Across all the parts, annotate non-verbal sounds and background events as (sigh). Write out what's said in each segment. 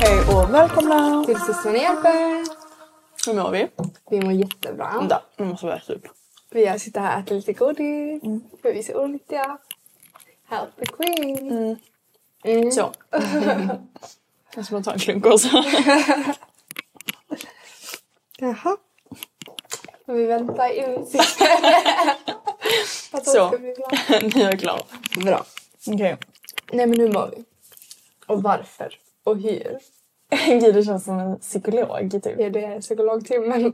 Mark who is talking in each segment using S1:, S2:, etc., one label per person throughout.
S1: Hej och välkomna!
S2: Till systrarna hjälper.
S1: Hur mår vi?
S2: Vi mår jättebra.
S1: Ja, nu måste vi äta upp. Mm.
S2: Vi sitter här och äter lite godis. För vi är så olyckliga. Help the queen. Mm.
S1: Så. Kanske man tar en klunk också.
S2: Jaha. Men vi väntar i
S1: (laughs)
S2: utsikt. Att de
S1: Så.
S2: ska bli glada.
S1: (laughs) nu är jag klar.
S2: Bra.
S1: Okej.
S2: Nej men hur mår vi? Och varför? Och hur?
S1: (laughs) Gud, det känns som en psykolog typ.
S2: Ja, det är
S1: Mm.
S2: psykologtimmen.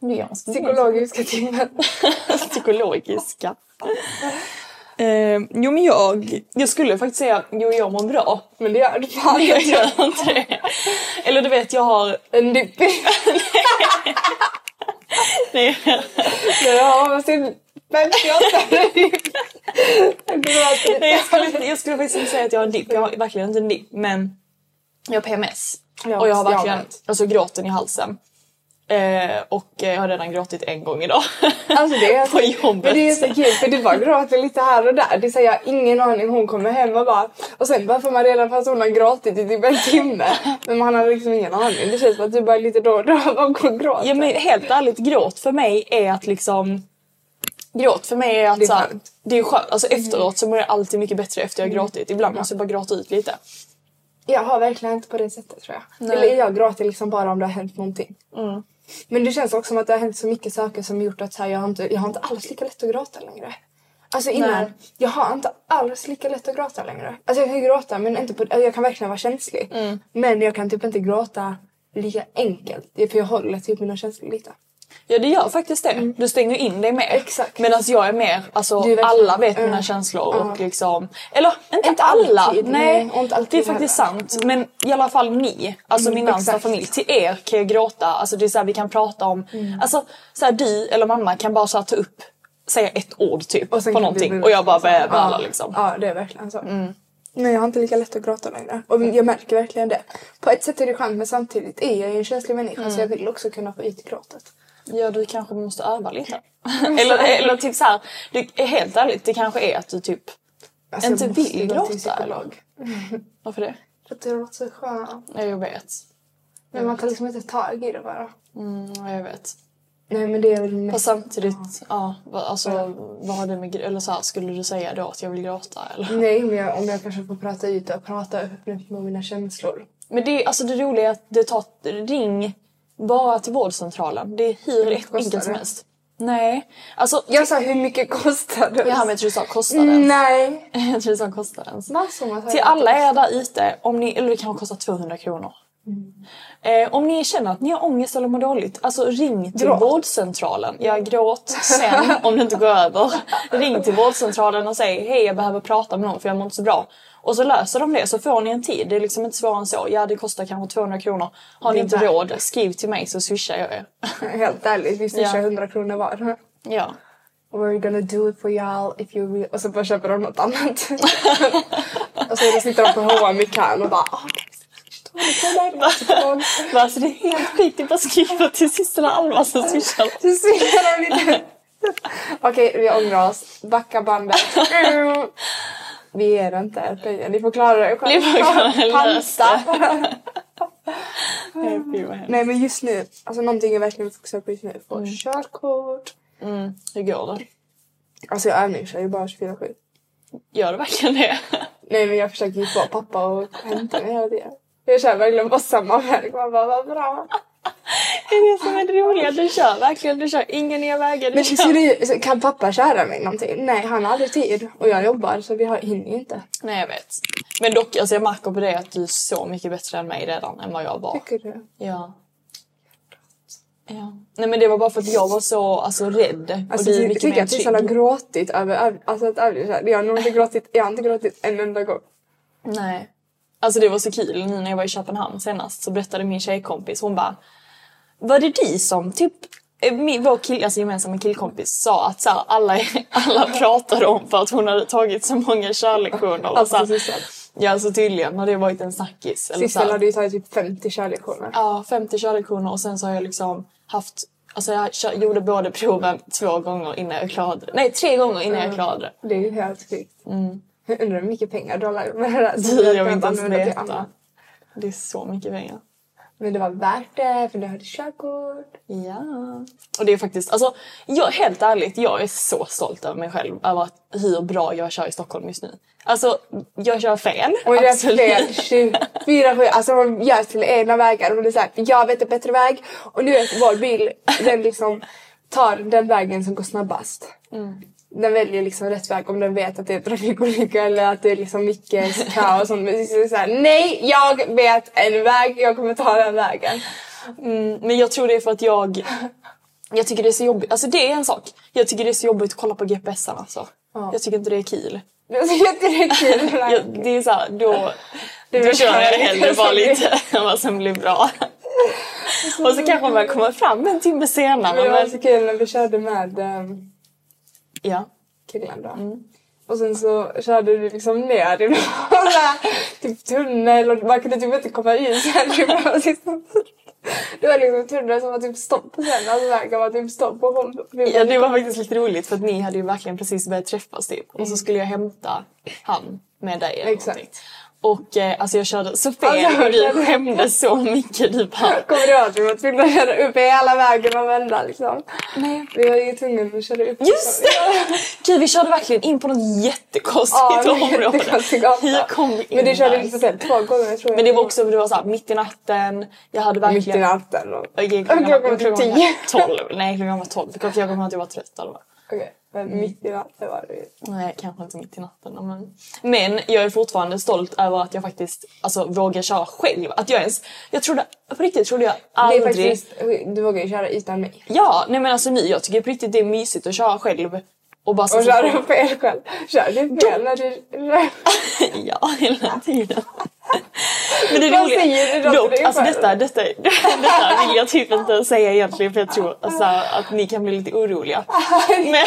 S1: Ja, psykolog.
S2: Psykologiska timmen.
S1: (laughs) Psykologiska. Eh, jo men jag, jag skulle faktiskt säga jo jag mår bra.
S2: Men det gör du fan
S1: Jag
S2: inte.
S1: gör inte det. Eller du vet jag har...
S2: En dipp.
S1: (laughs)
S2: (laughs)
S1: Nej,
S2: Jag har sin
S1: (laughs)
S2: 58
S1: nej jag, skulle,
S2: (laughs)
S1: inte- jag skulle faktiskt inte säga att jag har en dipp. Jag har verkligen inte en dipp men jag har PMS.
S2: Ja,
S1: och jag har
S2: jag
S1: verkligen
S2: vet.
S1: alltså, gråten i halsen. Eh, och eh, jag har redan gråtit en gång idag.
S2: (laughs) Alltså det är
S1: På jobbet.
S2: Men det är så kul för det bara gråter lite här och där. Det säger jag har ingen aning. Hon kommer hem och bara... Och sen bara får man reda på att hon har gråtit i typ en timme. Men man har liksom ingen aning. Det känns som att du bara lite då och då bara går och gråter.
S1: Ja men helt ärligt, gråt för mig är att liksom... Gråt för mig är att
S2: Det är
S1: så här-
S2: skönt. Mm.
S1: det är skönt. Alltså efteråt så mår jag alltid mycket bättre efter jag har gråtit. Ibland måste jag bara gråta ut lite.
S2: Jag har verkligen inte på det sättet tror jag. Eller jag gråter liksom bara om det har hänt någonting. Men det känns också som att det har hänt så mycket saker som gjort att så här, jag, har inte, jag har inte alls lika lätt att gråta längre. Alltså innan,
S1: Nej.
S2: jag har inte alls lika lätt att gråta längre. Alltså jag kan gråta men inte på, alltså, jag kan verkligen vara känslig. Men jag kan typ inte gråta lika enkelt. Det är för jag håller typ mina känslor lite.
S1: Ja det gör faktiskt det. Du stänger in dig mer.
S2: Mm. Exakt.
S1: Medan jag är mer, alltså
S2: Du är verkligen-
S1: alla vet
S2: Mm.
S1: mina känslor
S2: Ja.
S1: och liksom... Eller inte,
S2: Inte
S1: alla!
S2: alltid,
S1: nej,
S2: nej. Och inte alltid
S1: det är faktiskt
S2: heller. Mm,
S1: sant. Men i alla fall ni, alltså min närmsta
S2: exakt.
S1: familj. Till er kan jag gråta. Alltså det är så här, vi kan prata om...
S2: Mm.
S1: Alltså så här, du eller mamma kan bara så här, ta upp, säga ett ord typ på
S2: kan
S1: någonting.
S2: vi bli-
S1: och jag bara börjar
S2: ja,
S1: böla liksom. Mm.
S2: Ja, det är verkligen så. Nej, jag har inte lika lätt att gråta längre. Och jag märker verkligen det. På ett sätt är det skönt men samtidigt är jag ju en känslig människa så
S1: Mm.
S2: jag vill också kunna få ut gråtet.
S1: Ja, du kanske måste öva lite.
S2: (laughs)
S1: eller, eller typ så här, det, helt ärligt, det kanske är att du typ...
S2: Alltså,
S1: Inte
S2: jag måste
S1: vill
S2: gå till
S1: gråta,
S2: psykolog.
S1: Varför det?
S2: För att det låter så skönt.
S1: Ja, jag vet.
S2: Men
S1: Mm.
S2: man tar liksom inte tag i det bara.
S1: Ja, jag vet.
S2: Nej men det är väl
S1: Och
S2: mest...
S1: samtidigt, ja, vad- alltså vad har det med... gr- Eller så här, skulle du säga då att jag vill gråta eller?
S2: Nej men jag, om jag kanske får prata ut och prata öppet med mina känslor.
S1: Men det, är- alltså det roliga är att du tar... Ring bara till vårdcentralen. Det är hur
S2: kostar
S1: enkelt som
S2: det?
S1: helst. Nej. Alltså...
S2: Jag sa hur mycket kostar det?
S1: Jag har Mm. med att du sa kostnaden.
S2: Nej!
S1: (laughs) Jag tror du sa kostnaden.
S2: Massor med
S1: Till alla er där ute, om ni... Eller det kanske kostar 200 kronor.
S2: Mm.
S1: Eh, om ni känner att ni har ångest eller mår dåligt, alltså ring till
S2: Gråt.
S1: vårdcentralen. Jag
S2: (laughs)
S1: gråt sen om det inte går över. Ring till vårdcentralen och säg hej jag behöver prata med någon för jag mår inte så bra. Och så löser de det så får ni en tid. Det är liksom inte svårare än så. Ja det kostar kanske 200 kronor. Har ni
S2: Det är
S1: inte
S2: värt
S1: råd, skriv till mig så swishar jag er. (laughs)
S2: Helt ärligt, vi swishar
S1: Ja.
S2: 100 kronor var.
S1: ja.
S2: We're gonna do it for y'all if you real... Och så bara köper de något
S1: (laughs)
S2: annat. och så sitter de på H&M i kön och bara åh guys, 22 kronor, 22
S1: (laughs) Men alltså det är helt sjukt. Det är bara att skriva till systrarna Alma som swishar.
S2: Du ser dem inte. Okej, vi ångrar oss. Backa bandet. Mm. Vi är inte er tjejer. Ni får klara er själva.
S1: Ni får klara er
S2: Panta.
S1: Nej,
S2: Mm.
S1: fy vad hemskt.
S2: Nej men just nu, alltså någonting jag verkligen vill fokusera på just nu är att
S1: Mm.
S2: få körkort.
S1: Hur går det?
S2: Alltså jag övningskör ju bara 24-7.
S1: Gör det verkligen det?
S2: Nej men jag försöker ju få pappa och hämta mig hela tiden. Jag kör verkligen på samma väg. Man bara, vad bra.
S1: Det är det som är det roliga. Du kör verkligen. Du kör inga nya vägar. Du
S2: Men
S1: kör.
S2: skulle, så kan pappa köra mig någonting? Nej, han har aldrig tid. Och jag jobbar så vi har, hinner ju inte.
S1: Nej jag vet. Men dock, alltså jag märker på det att du är så mycket bättre än mig redan än vad jag var.
S2: Tycker du?
S1: Ja. ja. Nej men det var bara för att jag var så alltså, rädd.
S2: Alltså,
S1: och du är
S2: jag
S1: mycket
S2: tycker
S1: mer
S2: att Tissan har
S1: trygg.
S2: gråtit över över- alltså, att övningsköra. Jag har nog inte gråtit, jag har inte gråtit en enda gång.
S1: Nej. Alltså det var så kul. Nu när jag var i Köpenhamn senast så berättade min tjejkompis. Hon bara. Var det du som typ. eh, Min, vår kill, alltså gemensamma killkompis sa att så här, alla, (laughs) alla pratade om för att hon hade tagit så många körlektioner. Och
S2: Alltså,
S1: så här-
S2: Sissel.
S1: ja alltså tydligen har det varit en snackis. Eller så
S2: Sissel
S1: här.
S2: hade ju tagit typ 50 körlektioner.
S1: Ja, 50 körlektioner och sen så har jag liksom haft... Alltså jag kö- gjorde båda proven två gånger innan jag klarade det. Nej, tre gånger innan
S2: Mm.
S1: jag klarade det.
S2: Det är ju helt sjukt. Jag undrar hur mycket pengar du har lagt med det där. som du
S1: Du,
S2: har
S1: jag vill inte
S2: kunnat
S1: ens
S2: använda till
S1: veta.
S2: annat.
S1: Det är så mycket pengar.
S2: Men det var värt det för du hade körkort.
S1: Ja. Och det är faktiskt, alltså jag, helt ärligt, jag är så stolt över mig själv. Över att, hur bra jag kör i Stockholm just nu. Alltså, jag kör fel.
S2: Och det är
S1: absolut.
S2: fel 24 7 Alltså man gör sina egna vägar. Och det är så här, jag vet en bättre väg. Och nu vet vår bil, den liksom tar den vägen som går snabbast.
S1: Mm.
S2: Den väljer liksom rätt väg om den vet att det är trafikolycka eller att det är liksom mycket kaos. och sånt. Men det är liksom så här, nej, jag vet en väg. Jag kommer ta den vägen.
S1: Men jag tror det är för att jag... Jag tycker det är så jobbigt. Alltså det är en sak. Jag tycker det är så jobbigt att kolla på GPSen alltså. Jag tycker inte det är kul.
S2: Det är så jättekul.
S1: (laughs) Ja, det är såhär, då, då
S2: vet
S1: kör jag
S2: jag.
S1: det hellre bara lite än vad som blir bra. Och så kanske man kommer fram en timme senare.
S2: Men det var
S1: Men,
S2: så kul när vi körde med ehm,
S1: ja.
S2: killen då.
S1: Mm.
S2: Och sen så körde du liksom ner i (laughs) någon typ tunnel och man kunde typ inte komma ut. sen. Det var liksom- (laughs) Det var liksom tunnel som var typ stopp sen. Alltså vägen var typ stopp. Och hon, vi
S1: ja,
S2: bara,
S1: det var faktiskt lite roligt för att ni hade ju verkligen precis börjat träffas typ. Och så skulle jag hämta han med dig eller
S2: Mm. Exakt.
S1: någonting. Och eh, alltså jag körde så fel
S2: Alltså,
S1: och du
S2: jag-
S1: skämdes så mycket. typ, Du bara,
S2: Kommer du ihåg att vi var tvungna att köra upp hela vägen och vända liksom? Nej. Vi var ju tvungna att köra upp.
S1: just det! Gud vi körde verkligen in på något jättekonstigt
S2: Ja, det var en
S1: område.
S2: jättekonstig gata.
S1: Hur kom vi in
S2: Men det körde
S1: där?
S2: vi för sent två gånger tror jag.
S1: Men det var också, det var såhär mitt i natten. Jag hade verkligen...
S2: mitt i natten. och-
S1: Jag gick
S2: Och klockan var
S1: klockan
S2: typ
S1: var
S2: tio.
S1: tolv. Nej, klockan var tolv. Jag kommer att jag var trött. Eller? vad?
S2: Okej, men mitt i natten var det ju.
S1: Nej, kanske inte mitt i natten. Men, men jag är fortfarande stolt över att jag faktiskt alltså, vågar köra själv. Att jag ens... Jag trodde... På riktigt trodde jag
S2: Det är
S1: aldrig...
S2: faktiskt, du vågar ju köra utan mig.
S1: Ja, nej men alltså nu. Jag tycker på riktigt det är mysigt att köra själv. Och bara...
S2: Och köra upp fel själv. Kör du fel när du
S1: (laughs) Ja, hela
S2: (laughs)
S1: tiden. Men det
S2: Vad
S1: roliga-
S2: säger du då till
S1: dock,
S2: dig
S1: alltså
S2: själv?
S1: detta, detta, detta vill jag typ inte säga egentligen för jag tror alltså, att ni kan bli
S2: (laughs)
S1: lite oroliga. Men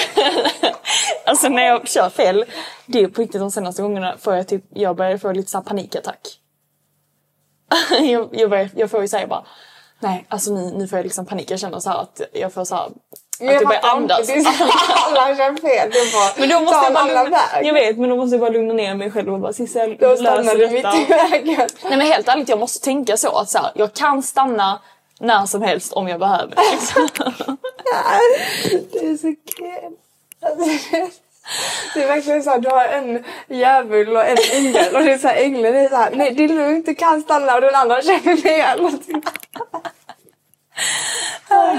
S1: (laughs) alltså när jag kör fel, det är på riktigt de senaste gångerna får jag typ, jag börjar få lite så här panikattack. (laughs) Jag, jag, börjar, jag får ju säga bara Nej, alltså nu, nu får jag liksom panik. Jag känner så här att jag får så här, att jag börjar andas.
S2: Det är så alla kör fel. Det är bara,
S1: Men då måste
S2: ta
S1: jag bara
S2: alla
S1: lugna,
S2: väg.
S1: Jag vet, men då måste jag bara lugna ner mig själv och bara Sissel,
S2: Då
S1: lös
S2: stannar du
S1: detta."
S2: mitt i vägen.
S1: Nej men helt ärligt, jag måste tänka så att så här, jag kan stanna när som helst om jag behöver. Liksom.
S2: Det är så kul. Alltså, det är- Det är verkligen så här, du har en djävul och en ängel och det är så här, ängeln är så här, nej det är lugnt, du kan stanna och den andra känner fel.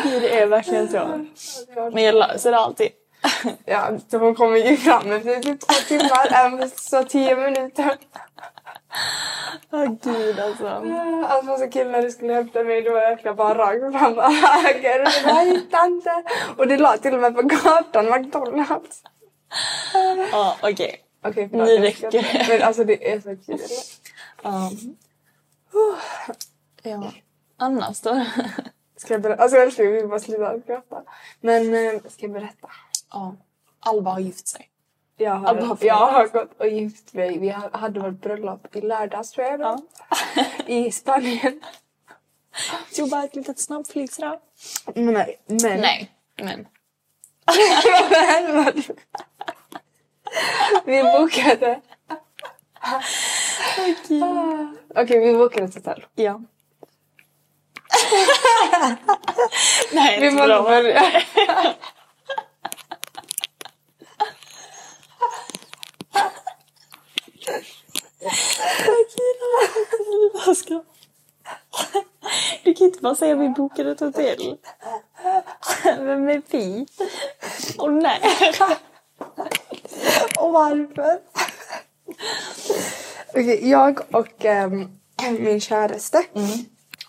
S1: Gud, det är verkligen så. Men jag löser det alltid.
S2: Ja, så hon kommer ju fram efter typ två timmar, äm, så tio minuter.
S1: Åh gud alltså.
S2: Att massa killar det skulle hämta mig då var jag verkligen bara rakt (laughs) fram och höger. Och det var hit, tante. Och det la till och med på gatan McDonalds.
S1: Ja okej.
S2: Okej,
S1: Nu
S2: jag
S1: räcker
S2: ska-
S1: det.
S2: Men alltså det är så kul.
S1: Ja. Um. Ja. Annars då?
S2: Ska jag berätta? Alltså jag älskar vi bara sluta skratta. Men eh, ska jag berätta?
S1: Ja. Alba har gift sig.
S2: Jag
S1: Ja, bara
S2: har,
S1: för-
S2: jag har gått och gift mig. Vi ha- hade vårt bröllop i lördags tror jag. då. I Spanien.
S1: Tog bara ett litet snabbflygstraff.
S2: Nej, men.
S1: Nej. Men.
S2: (laughs) Vi bokade. Okej, vi bokade ett hotell.
S1: Ja. Nej,
S2: Vi
S1: vi
S2: måste
S1: bra.
S2: börja.
S1: Jag ska... Du kan inte bara säga vi bokade ett hotell. Vem är vi? Och när?
S2: Och varför? Okej, jag och ehm, min käraste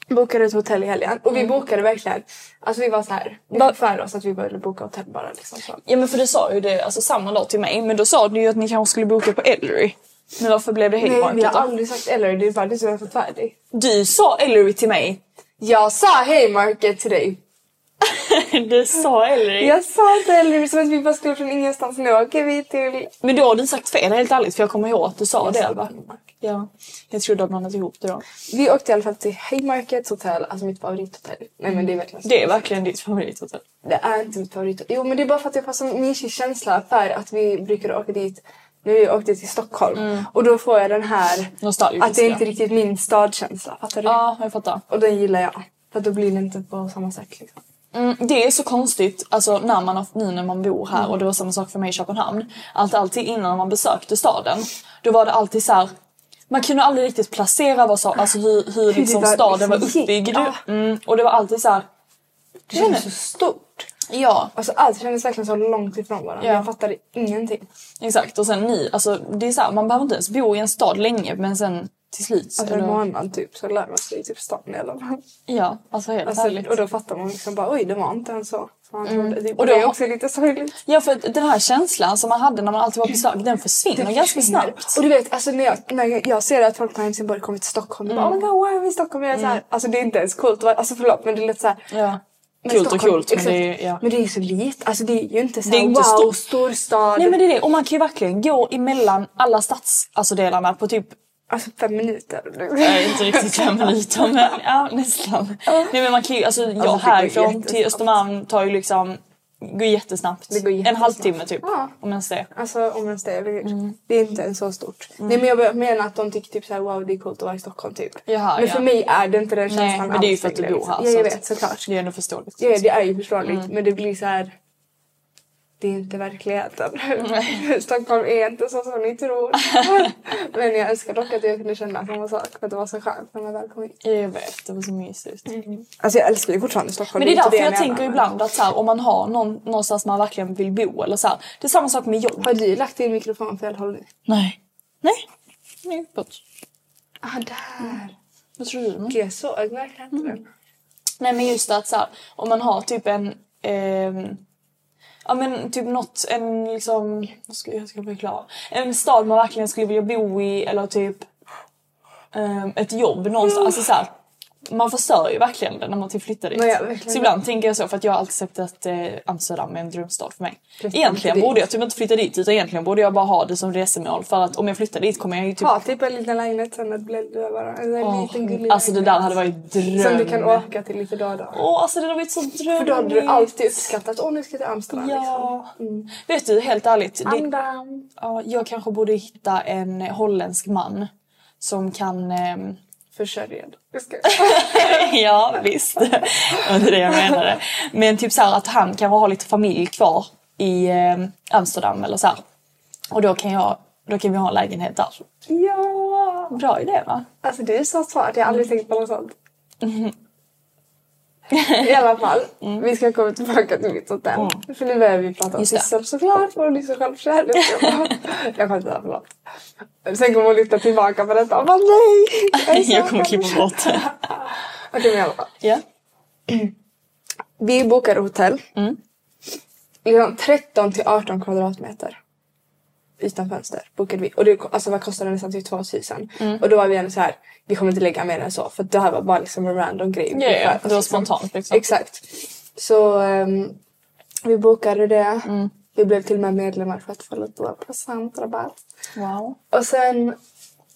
S2: bokade ett hotell i helgen. Och vi bokade verkligen. Alltså vi var så här. Vi fick för oss att vi började boka hotell bara liksom så.
S1: Ja men för du sa ju det alltså, samma dag till mig men då sa du ju att ni kanske skulle boka på Ellery. Men varför blev det
S2: Nej, vi
S1: Haymarket
S2: har
S1: då?
S2: aldrig sagt eller Det är bara det som är förfärligt.
S1: Du sa Ellery till mig.
S2: Jag sa hej Market till dig.
S1: du sa Ellery.
S2: Jag sa inte Ellery som att vi bara skulle från ingenstans. Nu åker vi till...
S1: Men då har du sagt fel helt ärligt för jag kommer ihåg att du sa det
S2: sa
S1: Alba. Ja. Jag tror du har blandat ihop det då.
S2: Vi åkte i alla fall till Haymarkets hotell, alltså mitt favorithotell. Nej men det är verkligen så.
S1: Det är verkligen ditt favorithotell.
S2: Det är inte mitt favorit. Jo men det är bara för att jag får sån nischig känsla för att vi brukar åka dit när vi åkte till Stockholm.
S1: Mm.
S2: Och då får jag den här
S1: Nostalgisk,
S2: att det är inte
S1: ja.
S2: riktigt min stadkänsla. Fattar du?
S1: Ja, jag fattar.
S2: Och den gillar jag. För då blir det inte på samma sätt liksom.
S1: Mm, det är så konstigt, alltså när man, har- nu när man bor här
S2: Mm.
S1: och det var samma sak för mig i Köpenhamn. Att alltid innan man besökte staden, då var det alltid så här. Man kunde aldrig riktigt placera vad så, alltså hur, hur liksom
S2: var
S1: staden var
S2: liksom-
S1: uppbyggd.
S2: Ja.
S1: Mm, och det var alltid så här.
S2: Det känns så stort.
S1: Ja,
S2: Alltså allt kändes verkligen så långt ifrån varandra.
S1: Ja.
S2: Jag fattade ingenting.
S1: exakt. Och sen ni, alltså det är så här, man behöver inte ens bo i en stad länge men sen till slut.
S2: Alltså en
S1: eller-
S2: månad typ så lär man sig typ stan i alla fall.
S1: ja, alltså helt
S2: Alltså,
S1: ärligt.
S2: och då fattar man liksom bara oj det var inte ens så. som man trodde. Typ.
S1: Mm. Och
S2: Och
S1: då
S2: det är
S1: har-
S2: också lite sorgligt.
S1: Ja för att den här känslan som man hade när man alltid var på besök, den försvinner ganska
S2: försvinner.
S1: snabbt.
S2: Och du vet, alltså när jag, när jag ser att folk från Helsingborg kommer till Stockholm, mm. bara, oh my god, wow, vi i Stockholm. Jag är så här, alltså det är inte ens coolt. va? Alltså förlåt, men det är lite så här.
S1: Mm. Ja.
S2: men
S1: Coolt och
S2: Stockholm-
S1: coolt men
S2: exakt.
S1: det är, ja.
S2: Men det är ju så lite. Alltså det är ju inte så
S1: Det är
S2: här,
S1: inte
S2: wow,
S1: stort.
S2: storstad.
S1: Nej men det är det. Och man kan ju verkligen gå emellan alla stadsdelarna alltså, delarna på typ,
S2: Alltså fem minuter.
S1: nej inte riktigt fem minuter men ja nästan. Nej men man kan ju, alltså jag
S2: det går
S1: härifrån till
S2: jättesnabbt.
S1: Östermalm tar ju liksom, går jättesnabbt.
S2: Det går
S1: En
S2: jättesnabbt.
S1: halvtimme typ.
S2: Ja.
S1: Om ens det.
S2: (laughs) Alltså om ens det. eller-
S1: Mm.
S2: Det är inte ens så stort. Nej men jag menar att de tycker typ såhär wow det är coolt att vara i Stockholm typ.
S1: Jaha,
S2: men
S1: ja.
S2: för mig är det inte den känslan
S1: Nej men det är ju
S2: alls
S1: för att du
S2: längre,
S1: bor här.
S2: Liksom. Ja jag
S1: så att-
S2: vet såklart.
S1: Det är ändå förståeligt.
S2: Ja, det är ju förståeligt.
S1: Mm.
S2: Men det blir så här. Det är inte verkligheten. (laughs) Stockholm är inte så som ni
S1: (laughs)
S2: tror. men jag önskar dock att jag kunde känna samma sak. För att det var så skönt när man väl kom hit.
S1: Jag vet, det var så mysigt.
S2: Alltså jag älskar ju fortfarande Stockholm.
S1: Men Mm. det är
S2: inte
S1: därför jag,
S2: menar,
S1: tänker
S2: men-
S1: ibland att så här, om man har någon, någonstans man verkligen vill bo eller så här. Det är samma sak med jobb.
S2: Har du lagt din mikrofon fel håll nu?
S1: Nej. Nej. Nej, gott.
S2: Ah där.
S1: Vad tror du?
S2: Jag såg verkligen inte
S1: Mm.
S2: den.
S1: Nej men just att så här, om man har typ en... ehm, ja men typ något, en liksom... Vad ska jag ska förklara? En stad man verkligen skulle vilja bo i eller typ ehm, ett jobb någonstans. Alltså så här, man förstör ju verkligen det när man typ flyttar dit.
S2: Nej, ja, verkligen.
S1: så ibland tänker jag så för att jag har alltid sett att eh, Amsterdam är en drömstad för mig.
S2: Flytta
S1: Egentligen
S2: inte
S1: borde jag typ inte flytta dit utan egentligen borde jag bara ha det som resemål för att om jag flyttar dit kommer jag ju typ...
S2: Ha typ en liten lägenhet sen att bli du bara. En
S1: Åh,
S2: liten gullig
S1: alltså det där hade varit dröm.
S2: lägenhet Som du kan åka till lite då och då.
S1: Åh alltså det där var ju så drömmigt.
S2: För då hade du alltid uppskattat. Åh nu ska jag till Amsterdam liksom.
S1: Ja. Vet du, helt ärligt. Det,
S2: Amsterdam.
S1: ja, jag kanske borde hitta en holländsk man som kan... ehm, (laughs)
S2: försörjad. Jag ska-
S1: ja, visst. (laughs) Och det är det jag menade. Men typ så här att han kanske har lite familj kvar i ehm, Amsterdam eller så här. Och då kan, jag, då kan vi ha en lägenhet där.
S2: ja!
S1: Bra idé va?
S2: Alltså det är så svårt. Jag har aldrig tänkt på något sånt. I alla fall, vi ska komma tillbaka till mitt hotell. För nu börjar vi prata om
S1: Mm. Just det.
S2: Sissel såklart, för hon är så självkärlek. jag skämtar, förlåt. Sen kommer hon lyfta tillbaka på detta och bara nej!
S1: (laughs)
S2: är så
S1: Jag kommer klippa
S2: självkär." (laughs)
S1: bort det.
S2: Okej, men i alla fall.
S1: Ja.
S2: Vi bokar hotell.
S1: Mm.
S2: Liksom 13 till 18 kvadratmeter. Utan fönster bokade vi. Och det alltså, vad kostade det? nästan typ 2000.
S1: Mm.
S2: Och då var vi ändå så här, vi kommer inte lägga mer än så. För det här var bara liksom en random grej.
S1: Ja, ja,
S2: Alltså,
S1: det var
S2: liksom-
S1: spontant, liksom.
S2: Exakt. Så ehm, vi bokade det.
S1: Mm.
S2: Vi blev till och med medlemmar för att få lite procentrabatt.
S1: Wow.
S2: Och sen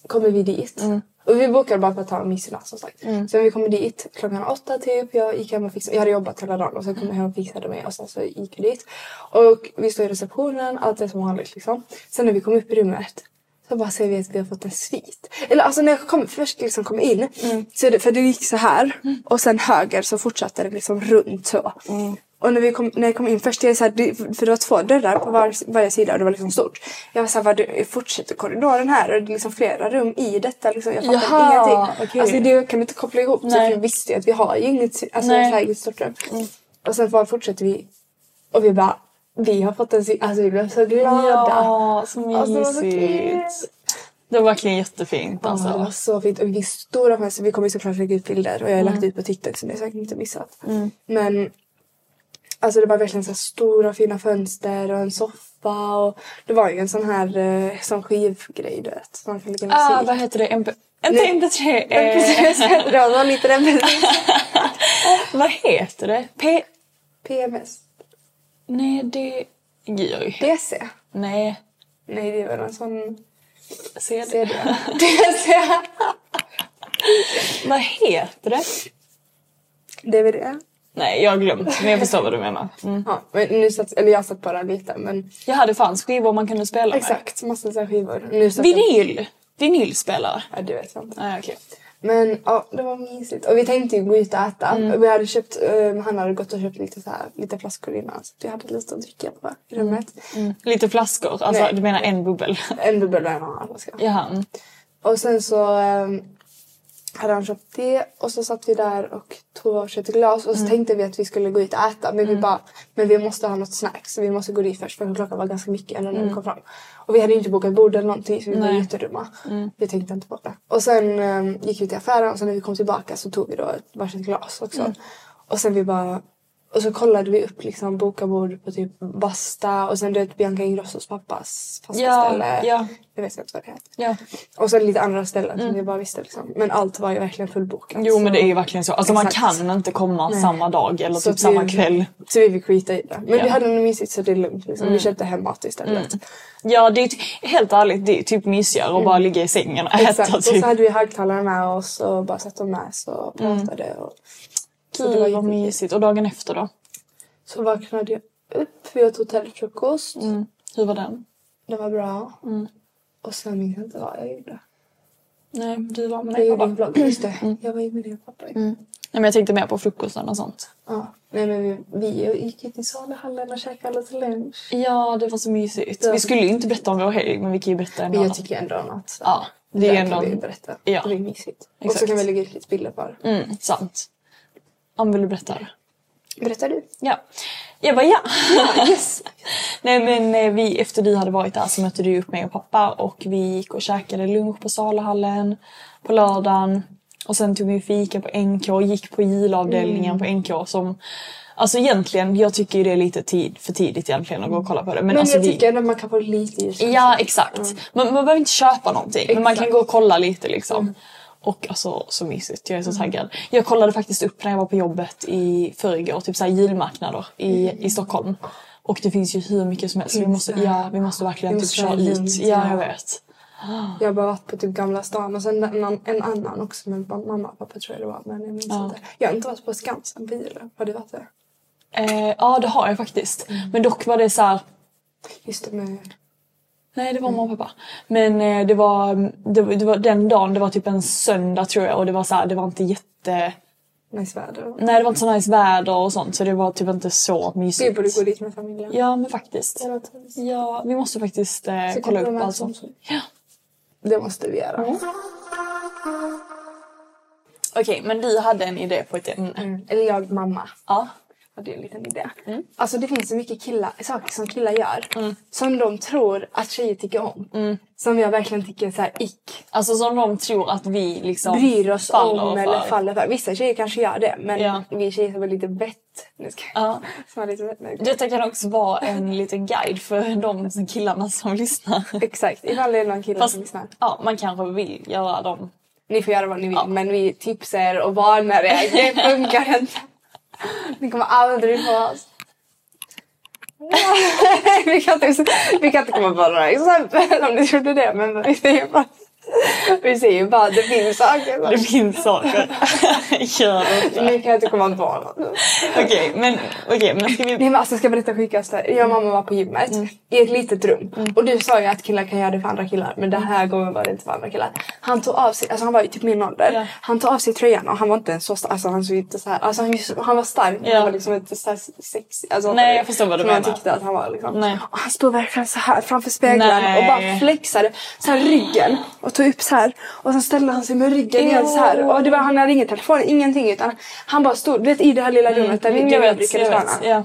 S2: kommer vi dit. Och vi bokade bara för att ta en mysig som sagt. Sen vi kommer dit klockan åtta typ. Jag gick hem och fixade. Jag hade jobbat hela dagen och sen kom jag hem och fixade mig. Och sen så gick vi dit. Och vi står i receptionen. Allt är som vanligt liksom. Sen när vi kom upp i rummet. Så bara ser vi att vi har fått en svit. Eller alltså när jag kom, först liksom kom in. Så det, för det gick så här. Och sen höger så fortsatte det liksom runt så. Och när, vi kom, när jag kom in först, jag är så här, det- för det var två dörrar på var, varje sida och det var liksom stort. Jag var såhär, vad det- fortsätter korridoren här? Och det är liksom flera rum i detta liksom. Jag fattade
S1: Jaha,
S2: ingenting.
S1: okej.
S2: Alltså det kan du inte koppla ihop. Så
S1: Nej.
S2: jag visste ju att vi har ju inget, alltså, så
S1: Nej. Mm.
S2: här, inget stort rum. Och sen bara fortsätter vi. Och vi bara, vi har fått en sy- Alltså vi blev så glada.
S1: Ja, så
S2: Alltså, det var så
S1: mysigt.
S2: kul.
S1: Det var verkligen jättefint
S2: Ja, det var
S1: alltså.
S2: så fint. Och vi fick stora fönster. Vi kommer ju såklart lägga ut bilder och jag har lagt ut på TikTok så ni har säkert inte missat. Men alltså det var verkligen så här stora fina fönster och en soffa och det var ju en sån här eh, sån skivgrej du vet. som Man kan lägga musik.
S1: Ah, vad heter det? MP... Inte
S2: Nej.
S1: MP3.
S2: Men
S1: Eh,
S2: precis, (laughs) det var lite den precis.
S1: vad heter det? P...
S2: PMS.
S1: Nej, det... Gud, jag är-
S2: DC.
S1: Nej.
S2: Nej det är väl en sån
S1: CD. (laughs)
S2: CD. DC.
S1: Vad heter det?
S2: DVD.
S1: Nej, jag har glömt. Men jag förstår vad du menar. Mm.
S2: Ja, men nu satt, eller jag satt bara lite men
S1: Jag hade fanns skivor man kunde spela med.
S2: exakt massa så här skivor. Nu satt jag-
S1: Vinyl! Vinylspelare.
S2: Ja, det vet jag inte.
S1: Nej, okej.
S2: Men ja, det var mysigt. Och vi tänkte ju gå ut och äta. Vi hade köpt, eh, han hade gått och köpt lite, så här, lite flaskor innan. Så vi hade lite att dricka på i rummet.
S1: Lite flaskor. Alltså,
S2: Nej.
S1: du menar en bubbel? (laughs)
S2: En bubbel och en annan flaska.
S1: Jaha. mm.
S2: Och sen så eh, hade han köpt det och så satt vi där och tog varsitt glas.
S1: Mm.
S2: Och så tänkte vi att vi skulle gå ut och äta. Men vi bara, men vi måste ha något snacks. Så vi måste gå dit först. För klockan var ganska mycket eller när vi kom fram. Och vi hade ju inte bokat bord eller någonting. Så vi var
S1: Mm. Nej. Mm.
S2: jättedumma. Vi tänkte inte på det. Och sen eh, gick vi till affären. Och sen när vi kom tillbaka så tog vi då ett varsitt glas också.
S1: Mm.
S2: Och sen vi bara och så kollade vi upp liksom boka bord på typ Basta och sen du vet Bianca Ingrossos pappas fasta
S1: Ja,
S2: ställe.
S1: ja.
S2: Jag vet inte vad det heter.
S1: Ja. Mm.
S2: Och sen lite andra ställen som vi bara visste liksom. Men allt var ju verkligen fullbokat.
S1: Jo men det är ju verkligen så. Alltså
S2: Exakt.
S1: man kan inte komma samma dag eller
S2: Så
S1: typ samma
S2: vi,
S1: kväll.
S2: Så vi fick skita i det. Men
S1: Ja. Mm.
S2: vi hade nog mysigt så det är lugnt. Liksom. Vi köpte hem mat istället.
S1: Ja det är ty- helt ärligt det är typ mysigare att bara ligga i sängen och
S2: Mm. Exakt.
S1: äta
S2: Och så
S1: typ.
S2: hade vi högtalare med oss och bara satt dem med oss och
S1: Mm.
S2: pratade. Och... Så det var
S1: Gud vad
S2: jättemysigt.
S1: mysigt. Och dagen efter då?
S2: Så vaknade jag upp. Vi åt hotellfrukost.
S1: Hur var den?
S2: Det var bra.
S1: Mm.
S2: Och sen minns jag inte vad jag gjorde.
S1: Nej du var Mm.
S2: Jag
S1: med mig
S2: gjorde en
S1: pappa.
S2: vlogg. Just det. Jag var ju med din pappa. ju.
S1: Nej men jag tänkte mer på frukosten och sånt.
S2: Ja. Nej men vi, vi gick ju till saluhallen och käkade lite lunch.
S1: Ja det var så mysigt. Vi skulle ju inte berätta om vår helg men vi kan ju berätta en
S2: Men
S1: annan.
S2: jag tycker ändå annat.
S1: Ja, det är ju ändå-
S2: kan vi berätta.
S1: Ja.
S2: Det är mysigt. Och så
S1: Exakt.
S2: kan vi lägga ut lite bilder på det.
S1: Mm, sant. Om vill du berätta? det?
S2: Berättar du?
S1: Ja. Jag bara ja. (laughs) Nej men eh, vi, efter vi hade varit där så mötte du upp mig och pappa och vi gick och käkade lunch på saluhallen på lördagen. Och sen tog vi fika på NK och gick på
S2: Mm.
S1: julavdelningen på NK som Alltså egentligen, jag tycker ju det är lite tid, för tidigt egentligen att gå och kolla på det. Men,
S2: Men
S1: alltså
S2: jag
S1: vi,
S2: tycker ändå man kan få lite ljus.
S1: Ja exakt. Man, man behöver inte köpa någonting men man kan
S2: Liksom. Mm. Exakt. Mm.
S1: gå och kolla lite liksom. Och alltså så mysigt, jag är så taggad. Jag kollade faktiskt upp när jag var på jobbet i förrgår, typ såhär julmarknader i,
S2: Mm.
S1: i Stockholm. Och det finns ju hur mycket som helst. Så vi måste, ja, vi måste verkligen
S2: Vi
S1: typ
S2: måste
S1: köra
S2: köra
S1: ut.
S2: runt,
S1: Ja,
S2: ja.
S1: jag vet.
S2: Jag har bara varit på typ Gamla stan och sen en, an- en annan också med ba- mamma och pappa tror jag det var. Men jag minns inte. Jag har inte varit på Skansen på jul. Har du varit där?
S1: Eh, ja, det har jag faktiskt.
S2: Mm.
S1: Men dock var det så här.
S2: Just det med...
S1: Nej, det var mamma och pappa. Men eh, det, var, det, var- det var den dagen, det var typ en söndag tror jag och det var så här, det var inte jätte...
S2: Nice väder.
S1: Nej, det var inte så nice väder och sånt så det var typ inte så mysigt.
S2: Vi borde gå dit med familjen.
S1: Ja men faktiskt.
S2: Det låter mysigt.
S1: Ja, vi måste faktiskt eh,
S2: Så
S1: kolla
S2: kan vi
S1: upp
S2: vara
S1: allt sånt.
S2: som-
S1: Ja.
S2: Det måste vi göra.
S1: Okej, men du hade en idé på ett ämne.
S2: Mm. Eller jag mamma.
S1: Ja.
S2: Och det är en liten idé.
S1: Mm.
S2: Alltså det finns så mycket killar, saker som killar gör som de tror att tjejer tycker om.
S1: Mm.
S2: Som jag verkligen tycker så här ick.
S1: Alltså som de tror att vi liksom
S2: Bryr oss
S1: faller
S2: om
S1: för.
S2: eller faller för. Vissa tjejer kanske gör det men
S1: Ja.
S2: vi tjejer som är lite bett. Nu ska
S1: Ja.
S2: (laughs) som är lite bett. nu.
S1: Detta kan också vara en liten guide för de som- killarna som lyssnar.
S2: Exakt, ifall det är någon kille
S1: Fast
S2: som lyssnar.
S1: ja, man kanske vill göra dem.
S2: Ni får göra vad ni vill men vi tipsar och varnar er. Det funkar
S1: (laughs)
S2: inte. Ni kommer aldrig få oss. (laughs) vi, kan inte, vi kan inte komma på några exempel om ni trodde det men vi säger bara, vi säger bara att det finns saker.
S1: Det finns saker. Gör det.
S2: Nu kan jag inte komma på något.
S1: Okej, men, okay, men ska
S2: Nej
S1: vi...
S2: men alltså ska jag berätta sjukaste. Jag och
S1: Mm.
S2: mamma var på gymmet i ett litet rum. Och du sa ju att killar kan göra det för andra killar. Men
S1: Mm.
S2: den här gången var det inte för andra killar. Han tog av sig, alltså han var ju typ min ålder.
S1: Ja.
S2: Han tog av sig tröjan och han var inte ens så stark. Alltså han såg inte så här. Alltså han, han var stark. men
S1: Ja.
S2: Han var liksom inte så här sexig. Alltså,
S1: Nej, jag förstår vad du
S2: som
S1: menar.
S2: jag tyckte att han var liksom.
S1: Nej.
S2: Och han stod verkligen så här framför spegeln och bara
S1: Nej.
S2: flexade så här ryggen. Och tog upp så här. Och sen ställde han sig med ryggen igen så här. Och det var, han hade ingen telefon, ingenting. Utan han bara stod, du vet i det här lilla rummet
S1: Mm.
S2: där vi, du och jag brukade träna.
S1: Ja.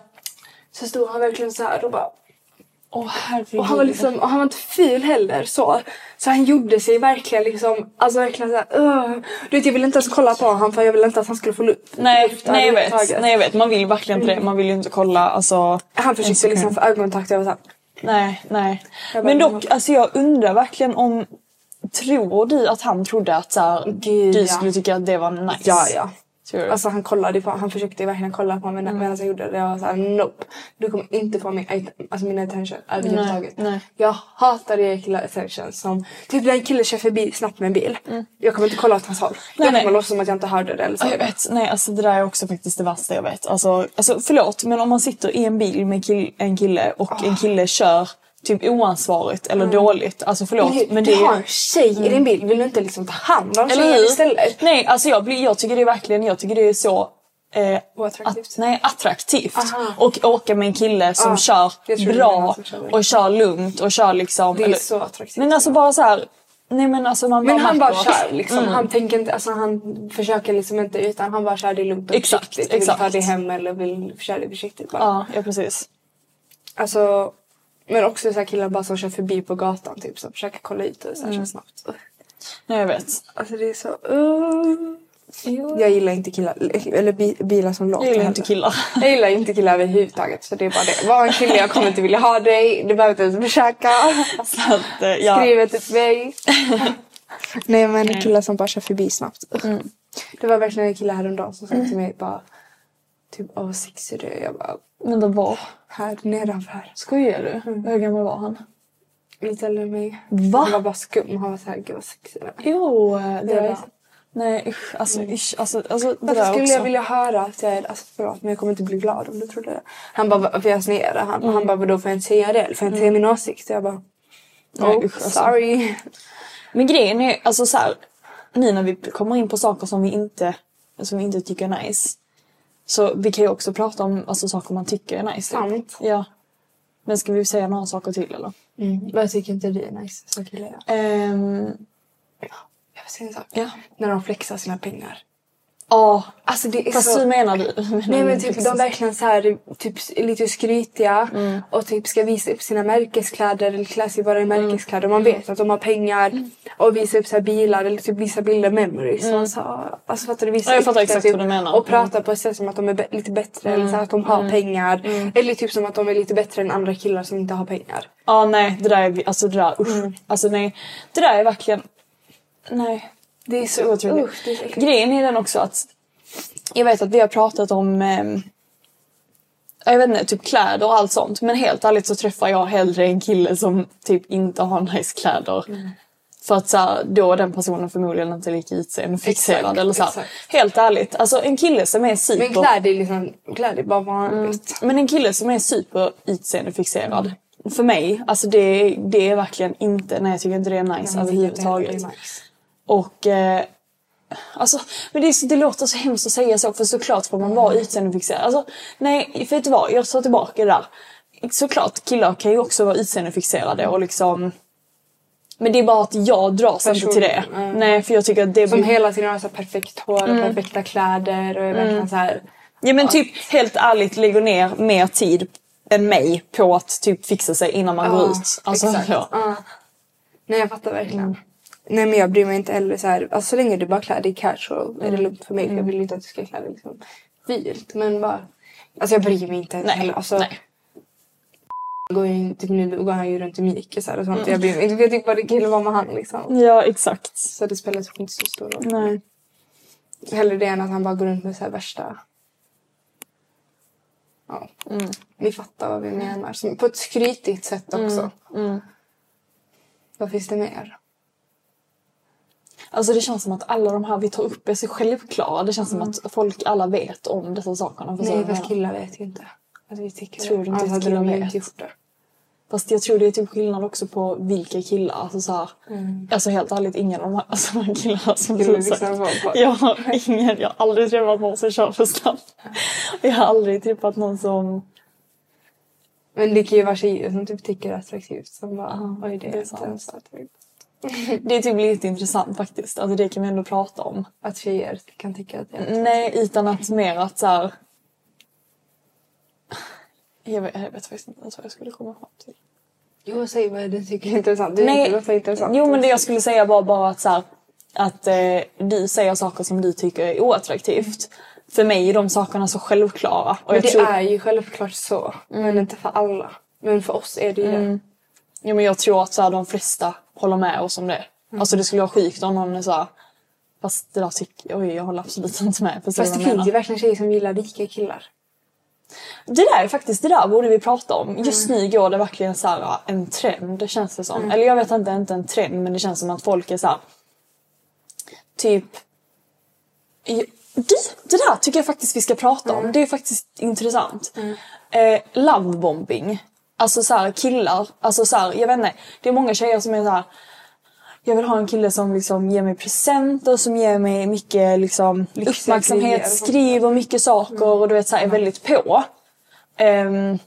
S2: Så stod han verkligen så här och bara...
S1: Åh herregud.
S2: Och han var, liksom, och han var inte ful heller så. Så han gjorde sig verkligen liksom... Alltså verkligen så här, "Ugh." Du vet jag ville inte ens kolla på honom för jag ville inte att han skulle få luft.
S1: Nej,
S2: luft
S1: nej, jag vet,
S2: överhuvudtaget.
S1: nej jag vet, man vill verkligen inte det. Man vill ju inte kolla alltså.
S2: Han
S1: en
S2: försökte
S1: sekund.
S2: liksom få ögonkontakt. Jag var så här,
S1: Nej, nej.
S2: Jag bara,
S1: Men dock,
S2: men-
S1: alltså jag undrar verkligen om... Tror du att han trodde att så här,
S2: Gud,
S1: du
S2: ja.
S1: skulle tycka att det var nice?
S2: ja ja.
S1: Tror du?
S2: Alltså han kollade på Han försökte verkligen kolla på mig mm. medan jag gjorde det. Jag var så här, nope. Du kommer inte få min, alltså min attention överhuvudtaget.
S1: Nej, nej.
S2: Jag hatar det killar attention som... Typ när en kille kör förbi snabbt med en bil. Jag kommer inte kolla åt hans håll. jag kommer
S1: Mm. nej.
S2: låtsas som att jag inte hörde det. Eller så.
S1: Ja, jag vet. Nej, alltså det där är också faktiskt det värsta jag vet. Alltså, alltså förlåt, men om man sitter i en bil med kill- en kille och en
S2: Ah.
S1: kille kör typ oansvarigt eller
S2: Mm.
S1: dåligt. Alltså förlåt,
S2: Men,
S1: men det
S2: du har
S1: är... Mm.
S2: en tjej i din bild, vill du inte liksom ta hand om
S1: Eller
S2: tjejen
S1: hur?
S2: istället?
S1: Alltså, Nej, alltså jag, blir, jag tycker det är verkligen, jag tycker det är så... Eh,
S2: Oattraktivt.
S1: Att, nej, attraktivt.
S2: Aha.
S1: Och åka med en kille som
S2: Ja,
S1: kör
S2: jag tror det är
S1: bra
S2: många som kör det.
S1: och kör lugnt och kör liksom...
S2: Det är så attraktivt.
S1: Men alltså bara Mm. så här... Nej men alltså man
S2: Men han bara
S1: märker att-
S2: kör liksom. Han tänker inte, alltså han försöker liksom inte utan han bara kör det lugnt och
S1: Exakt,
S2: försiktigt. Vill
S1: exakt.
S2: ta det hem eller vill köra det försiktigt bara.
S1: Ja, ja precis.
S2: Alltså, men också så här killar bara som kör förbi på gatan typ som försöker kolla ut och så
S1: Mm.
S2: här kör snabbt.
S1: Nej jag vet.
S2: Alltså det är så... Uh. Jag gillar inte killar, eller bi, bilar som låter
S1: Jag gillar inte
S2: heller.
S1: killar. (laughs)
S2: Jag gillar inte killar överhuvudtaget så det är bara det. Var en kille jag kommer inte vilja ha dig. Du behöver inte ens försöka.
S1: Så att, eh, ja.
S2: Skriv ett till mig. Nej men killar som bara kör förbi snabbt. Mm. Det var verkligen en kille häromdagen som sa till mig bara typ åh vad sexig du är. Jag bara
S1: Men de var...
S2: här nedanför.
S1: Skojar du?
S2: Mm.
S1: Hur gammal var han?
S2: Lite eller mig.
S1: Va?
S2: Han var bara skum. Han var såhär gud vad sexig du är.
S1: Jo, eh, det,
S2: var
S1: var...
S2: ju-
S1: Nej usch, alltså usch, alltså, alltså det
S2: Mm. Varför
S1: där
S2: skulle
S1: också.
S2: jag vilja höra att jag är... Alltså förlåt men jag kommer inte bli glad om du trodde det. Han bara "Va- för jag sneade. Han, han
S1: Mm.
S2: bara vadå får jag inte säga det? Eller får jag inte säga min åsikt? Jag bara
S1: Nej,
S2: oh,
S1: usch, alltså.
S2: sorry.
S1: Men grejen är alltså så här, nu när vi kommer in på saker som vi inte, som vi inte tycker är nice. Så vi kan ju också prata om alltså, saker man tycker är nice. typ.
S2: Sant.
S1: Ja. Men ska vi säga några saker till eller? Mm.
S2: Men jag tycker inte det är nice som kille. Jag
S1: Ehm,
S2: Jag vill säga en sak.
S1: ja.
S2: När de flexar sina pengar.
S1: Ja.
S2: Alltså det är
S1: Fast
S2: så...
S1: hur menar du?
S2: Nej
S1: (laughs) Mm.
S2: men typ de verkligen så här, typ är lite skrytiga
S1: Mm.
S2: och typ ska visa upp sina märkeskläder eller klä sig bara i märkeskläder. Man vet att de har pengar
S1: Mm.
S2: och visa upp så här bilar eller typ visa bilder memories. Mm. Så, alltså fattar du? Visa
S1: Ja, jag
S2: upp
S1: fattar
S2: det,
S1: exakt
S2: typ,
S1: vad du menar. Mm.
S2: Och prata på ett sätt som att de är be- lite bättre eller så här, att de har pengar.
S1: Mm.
S2: Eller typ som att de är lite bättre än andra killar som inte har pengar.
S1: Ja nej, det där är, vi- alltså det där usch.
S2: Mm.
S1: Alltså nej, det där är verkligen, nej.
S2: Det är så
S1: så otroligt.
S2: Usch, det är så äckligt.
S1: Grejen är den också att jag vet att vi har pratat om ehm, jag vet inte, typ kläder och allt sånt. Men helt ärligt så träffar jag hellre en kille som typ inte har nice kläder.
S2: Mm.
S1: För att så här, då är den personen förmodligen inte lika utseendefixerad.
S2: Exakt,
S1: eller så här.
S2: exakt.
S1: Helt ärligt, alltså en kille som är super...
S2: Men kläder är liksom, kläder är bara vanligt.
S1: Men en kille som är super utseendefixerad. För mig, alltså det, det är verkligen inte, nej jag tycker inte det är nice
S2: Jag tycker inte heller
S1: Alltså, överhuvudtaget.
S2: det är nice.
S1: Och eh, alltså, men det, är så, det låter så hemskt att säga så för såklart får man vara utseendefixerad. Alltså, nej, vet du vad? Jag tar tillbaka det där. Såklart killar kan ju också vara utseendefixerade och liksom Men det är bara att jag dras inte till det.
S2: Personligen, mm.
S1: Nej för jag tycker att det
S2: Som
S1: blir...
S2: hela tiden har så här perfekt hår
S1: Mm.
S2: och perfekta kläder och är verkligen så här.
S1: Ja men typ helt ärligt lägger ner mer tid än mig på att typ fixa sig innan man går ut. Alltså,
S2: exakt.
S1: ja.
S2: Ja. Nej jag fattar verkligen.
S1: Mm.
S2: Nej men jag bryr mig inte heller så här. Alltså, så länge du bara klär dig casual är
S1: Mm.
S2: det lugnt för mig. För jag vill inte att du ska klä dig liksom vilt. Men bara. Alltså jag bryr mig inte
S1: Nej,
S2: heller. Alltså,
S1: nej.
S2: Går ju, in- typ, nu går han ju runt i mjukisar och sånt.
S1: Mm.
S2: Jag bryr mig inte. för Jag tycker bara det är kul att vara med han liksom.
S1: ja exakt.
S2: Så det spelar typ inte så stor roll.
S1: Nej.
S2: Hellre det än att han bara går runt med så här värsta... Ja.
S1: Mm.
S2: Ni fattar vad vi menar. Som, på ett skrytigt sätt också.
S1: Mm.
S2: Vad finns det mer?
S1: Alltså det känns som att alla de här vi tar upp är så självklara. Det känns som att folk alla vet om dessa sakerna. Förstår
S2: Nej,
S1: du vad jag
S2: fast
S1: menar?
S2: killar vet ju inte. Alltså, vi tycker
S1: Tror du inte
S2: Annars
S1: att
S2: hade
S1: killar
S2: de ju
S1: vet?
S2: inte gjort det.
S1: Fast jag tror det är typ skillnad också på vilka killar. Alltså, så här, alltså helt ärligt, ingen av de här, alltså, de här killarna som
S2: Skulle
S1: du liksom
S2: vissa vara på?
S1: Jag har ingen, jag har aldrig träffat någon som kör för snabbt. Jag har aldrig träffat någon som...
S2: Men det kan ju vara tjejer som typ tycker det är attraktivt. Som bara,
S1: Ja,
S2: oj det
S1: det är
S2: är inte
S1: sant.
S2: ens attraktivt.
S1: Det är typ lite intressant faktiskt. Alltså det kan vi ändå prata om.
S2: Att tjejer kan tycka att det är
S1: Nej, utan att mer att så här... Jag vet, jag vet faktiskt inte ens vad jag skulle komma fram till.
S2: Jo, säg vad du tycker är intressant. Du
S1: Nej.
S2: Nej. låter intressant.
S1: Jo men det jag skulle säga var bara att så här, att eh, du säger saker som du tycker är oattraktivt. För mig är de sakerna så självklara. Och
S2: Men
S1: jag
S2: det
S1: tror, Mm.
S2: är ju självklart så. Men inte för alla. Men för oss är det ju det.
S1: ja, men jag tror att så här, de flesta håller med oss om det. Alltså det skulle vara sjukt om någon är så här, fast det där tycker jag, oj jag håller absolut inte med. Förstår du
S2: Fast
S1: vad
S2: det
S1: jag menar?
S2: finns ju verkligen tjejer som gillar rika killar.
S1: Det där är faktiskt, det där borde vi prata
S2: Mm.
S1: om. Just nu går det verkligen så här, en trend det känns det som.
S2: Mm.
S1: Eller jag vet inte, inte en trend men det känns som att folk är så här, typ Ja, du, det där tycker jag faktiskt vi ska prata
S2: Mm.
S1: om. Det är faktiskt intressant. Eh, lovebombing. Alltså så här killar, alltså så här, jag vet inte. Det är många tjejer som är så här jag vill ha en kille som liksom ger mig presenter, som ger mig mycket liksom,
S2: grejer
S1: uppmärksamhet,
S2: och sånt. Mm.
S1: skriv och mycket saker och du vet så här, är väldigt på. Ehm,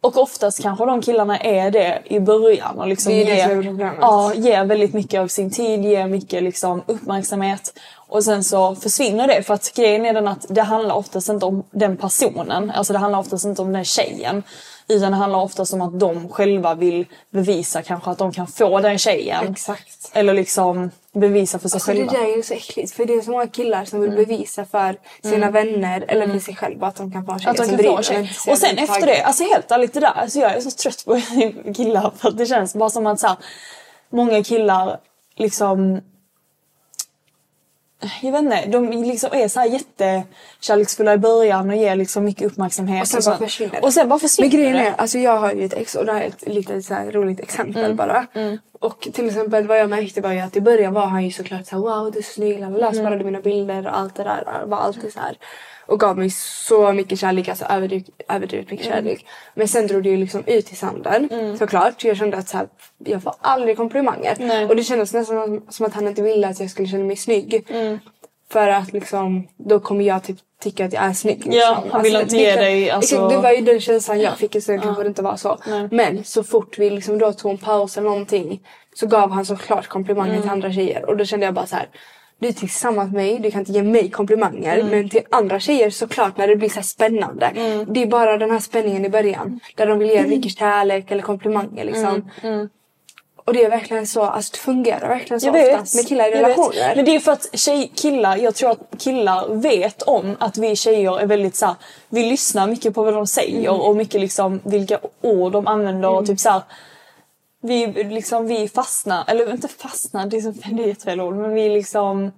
S1: och oftast kanske de killarna är det i början och liksom
S2: Det är det som är
S1: ger,
S2: problemet.
S1: ja, ger väldigt mycket av sin tid, ger mycket liksom uppmärksamhet. Och sen så försvinner det för att grejen är den att det handlar oftast inte om den personen, alltså det handlar oftast inte om den tjejen. Utan det handlar oftast om att de själva vill bevisa kanske att de kan få den tjejen.
S2: Exakt.
S1: Eller liksom bevisa för sig
S2: Alltså det
S1: själva. Mm.
S2: där är ju så äckligt för det är så många killar som vill bevisa för sina vänner eller för sig själva att de kan få en tjej
S1: Att de
S2: som
S1: kan
S2: bryr
S1: få en
S2: sig
S1: tjej.
S2: inte så
S1: Och sen
S2: jävla
S1: efter
S2: taggad.
S1: det, alltså helt ärligt det där. Alltså jag är så trött på (laughs) killar för att det känns bara som att så här, många killar liksom jag vet inte, de liksom är så här jättekärleksfulla i början och ger liksom mycket uppmärksamhet.
S2: Och sen bara
S1: sånt.
S2: försvinner det.
S1: Och sen bara försvinner
S2: Men grejen
S1: det.
S2: är, alltså jag har ju ett ex och det här är ett litet så här roligt exempel
S1: Mm.
S2: bara. Och till exempel vad jag märkte var ju att i början var han ju såklart såhär wow du är snygg, lalala,
S1: Mm.
S2: sparade mina bilder och allt det där. äh, Var alltid så här Och gav mig så mycket kärlek, alltså överdrivet, överdrivet mycket
S1: Mm.
S2: kärlek. Men sen drog det ju liksom ut i sanden såklart. Jag kände att så här, jag får aldrig komplimanger.
S1: Nej.
S2: Och det kändes nästan som att han inte ville att jag skulle känna mig snygg.
S1: Mm.
S2: För att liksom, då kommer jag typ tycka att jag är snygg.
S1: Ja,
S2: liksom.
S1: han vill inte ge
S2: det kan-
S1: dig, alltså-
S2: Exakt, det var ju den känslan jag fick. Så det kanske det inte var så. Men så fort vi liksom då tog en paus eller någonting så gav han såklart komplimanger till
S1: Mm.
S2: andra tjejer. Och då kände jag bara så här. Du är tillsammans med mig, du kan inte ge mig komplimanger.
S1: Mm.
S2: Men till andra tjejer såklart när det blir så här spännande.
S1: Mm.
S2: Det är bara den här spänningen i början. Där de vill ge mycket kärlek eller komplimanger liksom. Och det är verkligen så, alltså det fungerar verkligen så
S1: Mm. Jag vet.
S2: oftast med killar i
S1: Jag vet.
S2: relationer.
S1: Men det är för att tjej, killar, jag tror att killar vet om att vi tjejer är väldigt så här, vi lyssnar mycket på vad de säger
S2: Mm.
S1: och mycket liksom vilka ord de använder och typ så här, vi liksom vi fastnar, eller inte fastnar, det är, så, (laughs) det är ett fel ord, men vi liksom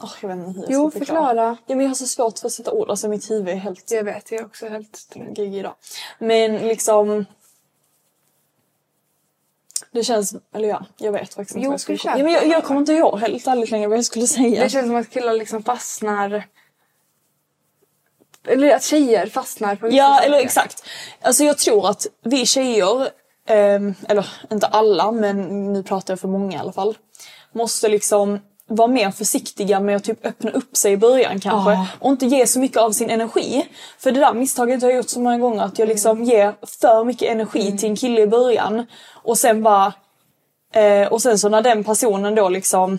S1: Åh, jag vet inte hur jag
S2: Jo,
S1: ska
S2: förklara.
S1: Ja, men jag har så svårt för att sätta ord, alltså mitt huvud är helt
S2: Jag vet, jag är också helt...
S1: gig idag. Men liksom... Det känns... Eller ja, jag vet faktiskt inte
S2: Jo,
S1: vad jag skulle
S2: det
S1: komma.
S2: känns
S1: Ja, men jag,
S2: bra.
S1: jag kommer inte ihåg helt ärligt längre vad jag skulle säga.
S2: Det känns som att killar liksom fastnar... Eller att tjejer fastnar på vissa
S1: Ja,
S2: saker.
S1: eller exakt. Alltså jag tror att vi tjejer, ehm, eller inte alla men nu pratar jag för många i alla fall, måste liksom vara mer försiktiga med att typ öppna upp sig i början kanske.
S2: Ja.
S1: Och inte ge så mycket av sin energi. För det där misstaget har jag gjort så många gånger att jag liksom ger för mycket energi till en kille i början. Och sen bara... Eh, och sen så när den personen då liksom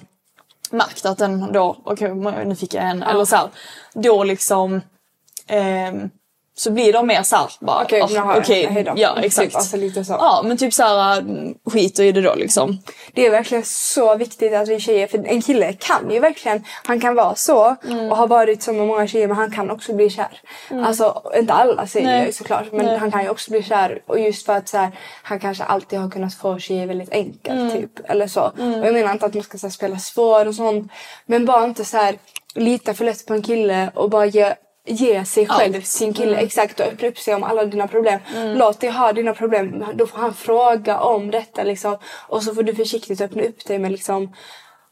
S1: märkt att den då, okej nu fick jag en, eller så här, Då liksom... ehm, så blir de mer såhär bara...
S2: Okej,
S1: "Ah,
S2: nu har jag
S1: okej,
S2: den. Hej då."
S1: Ja,
S2: Typ,
S1: exakt.
S2: alltså lite så.
S1: Ja, men typ såhär mm, skiter i det då liksom.
S2: Det är verkligen så viktigt att vi tjejer, för en kille kan ju verkligen, han kan vara så
S1: Mm.
S2: och har varit så med många tjejer men han kan också bli kär. Alltså inte alla tjejer
S1: Nej.
S2: såklart men
S1: Nej.
S2: han kan ju också bli kär och just för att så här, han kanske alltid har kunnat få tjejer väldigt enkelt
S1: Mm.
S2: typ eller så. Och jag menar inte att man ska så här, spela svår och sånt men bara inte så här lita för lätt på en kille och bara ge Ge sig själv till sin kille exakt och öppna upp sig om alla dina problem.
S1: Mm.
S2: Låt dig ha dina problem. Då får han fråga om detta liksom. Och så får du försiktigt öppna upp dig med liksom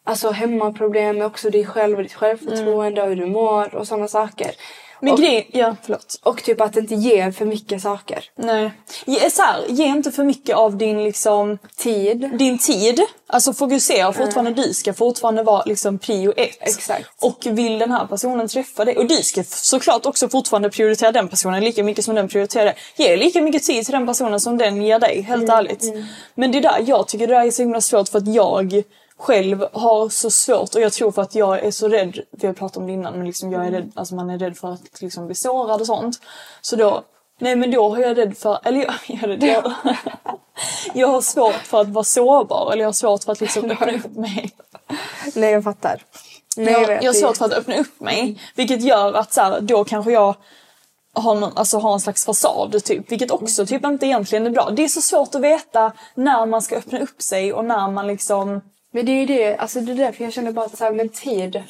S2: Alltså hemmaproblem men också dig själv och ditt självförtroende och hur du mår och sådana saker.
S1: Men
S2: och,
S1: grejen, ja förlåt.
S2: och typ att inte ge för mycket saker.
S1: Nej. Ge, så här, ge inte för mycket av din liksom
S2: Tid.
S1: din tid. Alltså fokusera fortfarande.
S2: Mm.
S1: Du ska fortfarande vara liksom prio ett.
S2: Exakt.
S1: Och vill den här personen träffa dig. Och du ska f- såklart också fortfarande prioritera den personen lika mycket som den prioriterar dig. Ge lika mycket tid till den personen som den ger dig. Helt ärligt. Men det där, jag tycker det där är så himla svårt för att jag själv har så svårt och jag tror för att jag är så rädd, vi har pratat om det innan, men liksom jag är rädd, alltså man är rädd för att liksom bli sårad och sånt. Så då, nej men då har jag rädd för, eller jag, (laughs) jag är rädd, jag, jag har svårt för att vara sårbar eller jag har svårt för att liksom öppna upp mig.
S2: Nej jag fattar. Nej,
S1: jag,
S2: vet,
S1: jag
S2: det-
S1: har
S2: Mm.
S1: svårt för att öppna upp mig. Vilket gör att så här, då kanske jag har, någon, alltså, har en slags fasad typ. Vilket
S2: Mm.
S1: också typ inte egentligen är bra. Det är så svårt att veta när man ska öppna upp sig och när man liksom...
S2: Men det är ju det, alltså det är därför jag känner bara att så här, men tid.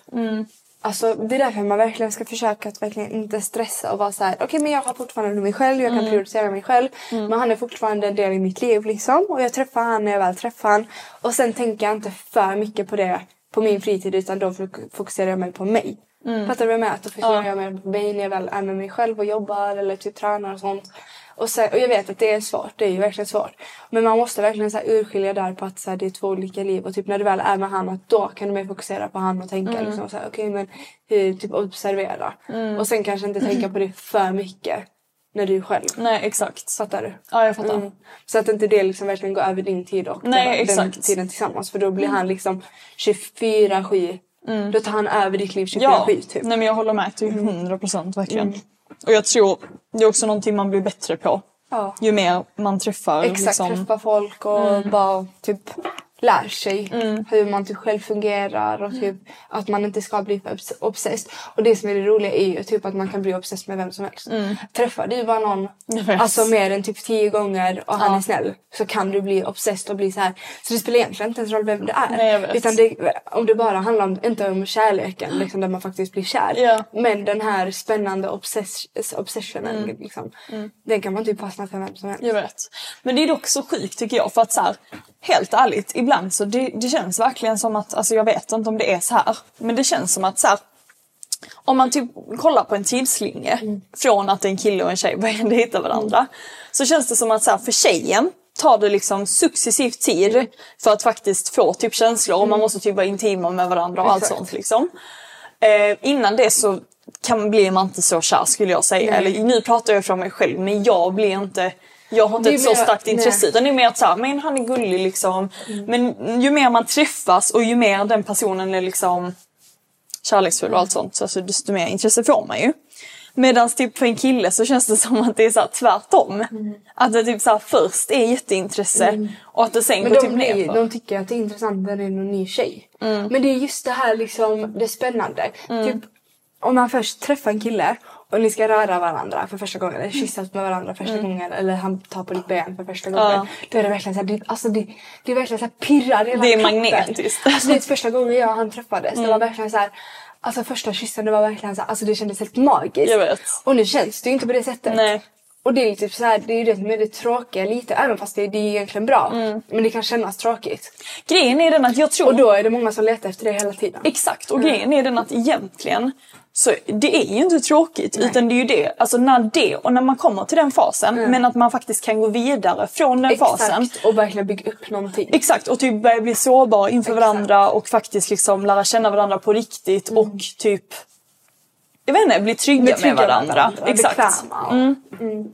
S2: Alltså det är därför man verkligen ska försöka att verkligen inte stressa och vara så här, okej men jag har fortfarande mig själv, jag kan prioritera mig själv. Men han är fortfarande en del i mitt liv liksom och jag träffar han när jag väl träffar han. Och sen tänker jag inte för mycket på det på min fritid utan då fok- fokuserar jag mig på mig. Fattar du vad jag menar? Att Då fokuserar jag mig på mig när jag väl är med mig själv och jobbar eller typ tränar och sånt. Och, sen, och jag vet att det är svårt, det är ju verkligen svårt. Men man måste verkligen så här urskilja där på att så här, det är två olika liv. Och typ när du väl är med han, att då kan du mer fokusera på han och tänka
S1: Mm.
S2: liksom så här, okej men hur, typ observera. Och sen kanske inte tänka på det för mycket när du är själv.
S1: Nej exakt.
S2: Fattar du?
S1: Ja jag fattar.
S2: Mm. Så att inte det liksom verkligen går över din tid och
S1: Nej,
S2: den, den
S1: exakt. Mm.
S2: tiden tillsammans. För då blir han liksom 24 7 Då tar han över ditt liv 24
S1: Ja,
S2: 7 typ. Mm.
S1: nej men jag håller med till 100 procent verkligen. Och jag tror det är också någonting man blir bättre på.
S2: Ja.
S1: Ju mer man träffar
S2: Exakt,
S1: liksom.
S2: träffa folk och bara typ lär sig
S1: Mm.
S2: hur man typ själv fungerar och typ att man inte ska bli för obs- obsessed. Och det som är det roliga är ju typ att man kan bli obsessed med vem som helst.
S1: Mm.
S2: Träffar du bara någon
S1: vet.
S2: alltså mer än typ tio gånger och han är snäll så kan du bli obsessed och bli så här. Så det spelar egentligen inte ens roll vem det är.
S1: Nej, jag vet.
S2: Utan det, om det bara handlar om, inte om kärleken liksom där man faktiskt blir kär.
S1: Ja.
S2: Men den här spännande obsess- obsessionen
S1: Mm.
S2: liksom. Den kan man typ fastna för vem som helst.
S1: Eh, Jag vet. Men det är dock så sjukt tycker jag för att så här, helt ärligt ibland så det, det känns verkligen som att, alltså jag vet inte om det är så här, men det känns som att så här, om man typ kollar på en tidslinje från att en kille och en tjej började hitta varandra så känns det som att så här, för tjejen tar det liksom successivt tid för att faktiskt få typ känslor och man måste typ vara intima med varandra och allt
S2: Exakt.
S1: sånt liksom. Eh, innan det så kan, blir man inte så kär skulle jag säga. Eller, nu pratar jag från mig själv men jag blir inte jag har inte
S2: Det är
S1: ett så
S2: mer-
S1: starkt
S2: nej. Mm.
S1: intresse utan det är mer att så här, men han är gullig liksom. Men ju mer man träffas och ju mer den personen är liksom kärleksfull och allt
S2: Mm.
S1: sånt så alltså, desto mer intresse får man ju. Medan typ för en kille så känns det (laughs) som att det är så här, tvärtom.
S2: Mm.
S1: Att det typ så här, först är jätteintresse och att det sen
S2: Men
S1: går
S2: de,
S1: typ Mm.
S2: blir,
S1: nerför.
S2: de tycker att det är intressant när det är någon ny tjej. Men det är just det här liksom, det spännande.
S1: Mm.
S2: Typ, om man först träffar en kille och ni ska röra varandra för första gången eller kyssas med varandra första gången eller han tar på ditt ben för första gången.
S1: Mm. Ja.
S2: Då är det verkligen så här, det, alltså det, det är verkligen så här pirrar i hela
S1: Det är
S2: kroppen.
S1: magnetiskt. Mm.
S2: Alltså det är första gången jag och han träffades. Det var verkligen så här, alltså första kyssen det var verkligen så här, alltså det kändes helt magiskt.
S1: Jag vet.
S2: Och nu känns det ju inte på det sättet.
S1: Nej.
S2: Och det är ju typ så här, det är ju det som är det tråkiga lite, även fast det, det är egentligen bra.
S1: Mm.
S2: Men det kan kännas tråkigt.
S1: Grejen är den att jag tror...
S2: Och då är det många som letar efter det hela tiden.
S1: Exakt, och grejen är den att egentligen så det är ju inte tråkigt utan det är ju det, alltså när det och när man kommer till den fasen men att man faktiskt kan gå vidare från den fasen.
S2: Mm. Exakt, och verkligen bygga upp någonting.
S1: Exakt och typ börja bli sårbar inför
S2: Exakt. Mm.
S1: varandra och faktiskt liksom lära känna varandra på riktigt och typ jag vet inte, bli trygga,
S2: Bli trygga
S1: med varandra.
S2: varandra,
S1: Exakt.
S2: bekväma och-
S1: Mm.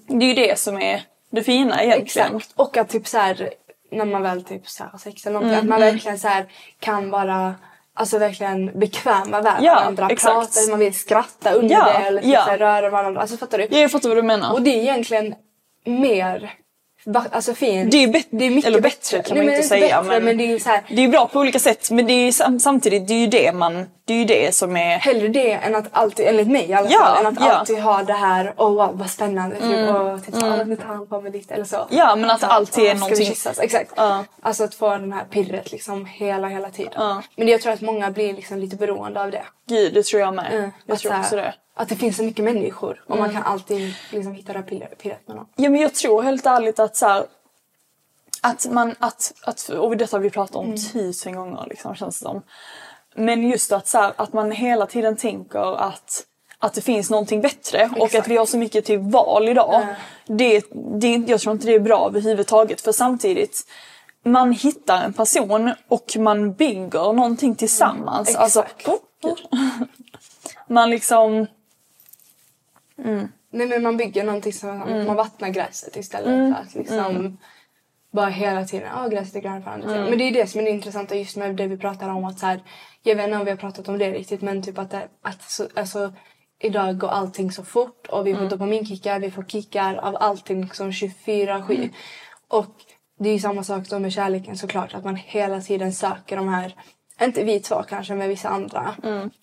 S1: Det är ju det som är det fina egentligen.
S2: Exakt. Och att typ så här, när man väl typ så här, har sex eller någonting,
S1: Mm,
S2: att man verkligen så här, kan vara alltså verkligen bekväma med
S1: Ja,
S2: varandra.
S1: exakt.
S2: Prata hur man vill, skratta under
S1: Ja,
S2: det eller typ
S1: ja.
S2: så här, röra varandra. Alltså fattar du?
S1: Ja, jag fattar vad du menar.
S2: Och det är egentligen mer va- alltså fint.
S1: Det är ju bet-
S2: det är mycket
S1: eller bättre kan
S2: Nej,
S1: man
S2: men
S1: inte
S2: det är
S1: säga.
S2: Bättre, men... det är ju så här,
S1: det är ju bra på olika sätt men det är ju sam- samtidigt det är ju det man, det är ju det som är
S2: hellre det än att alltid, enligt mig i alla
S1: Ja,
S2: fall, än att
S1: ja. Mm,
S2: alltid ha det här, åh wow, vad spännande, typ, åh, typ, så här, nu tar han på mig lite eller så.
S1: Ja, men att
S2: Så,
S1: alltid
S2: åh,
S1: är
S2: Ska
S1: någonting-
S2: vi kyssas? Exakt.
S1: Ja.
S2: Alltså att få den här pirret liksom hela, hela tiden. Men jag tror att många blir liksom lite beroende av det.
S1: Gud, det tror jag med. Jag
S2: Mm, att,
S1: tror
S2: så här,
S1: också det. Mm.
S2: Att det finns så mycket människor och man kan alltid liksom hitta det här pirret, pirret med någon.
S1: Ja, men jag tror helt ärligt att så här, att man, att, att, och detta har vi pratat om tusen gånger liksom, känns det som. Men just att, så här, att man hela tiden tänker att, att det finns någonting bättre och att vi har så mycket typ val idag. Det, det, jag tror inte det är bra överhuvudtaget för samtidigt man hittar en person och man bygger någonting tillsammans. alltså, man liksom...
S2: Nej men man bygger någonting som man vattnar gräset istället för att liksom bara hela tiden, ja gräset är grönare för andra sidan." Men det är ju det som är det intressanta just med det vi pratar om att så här, jag vet inte om vi har pratat om det riktigt men typ att, det, att så, alltså, idag går allting så fort och vi får dopaminkickar, vi får kickar av allting liksom 24-7. Och det är ju samma sak då med kärleken såklart att man hela tiden söker de här, inte vi två kanske men vissa andra,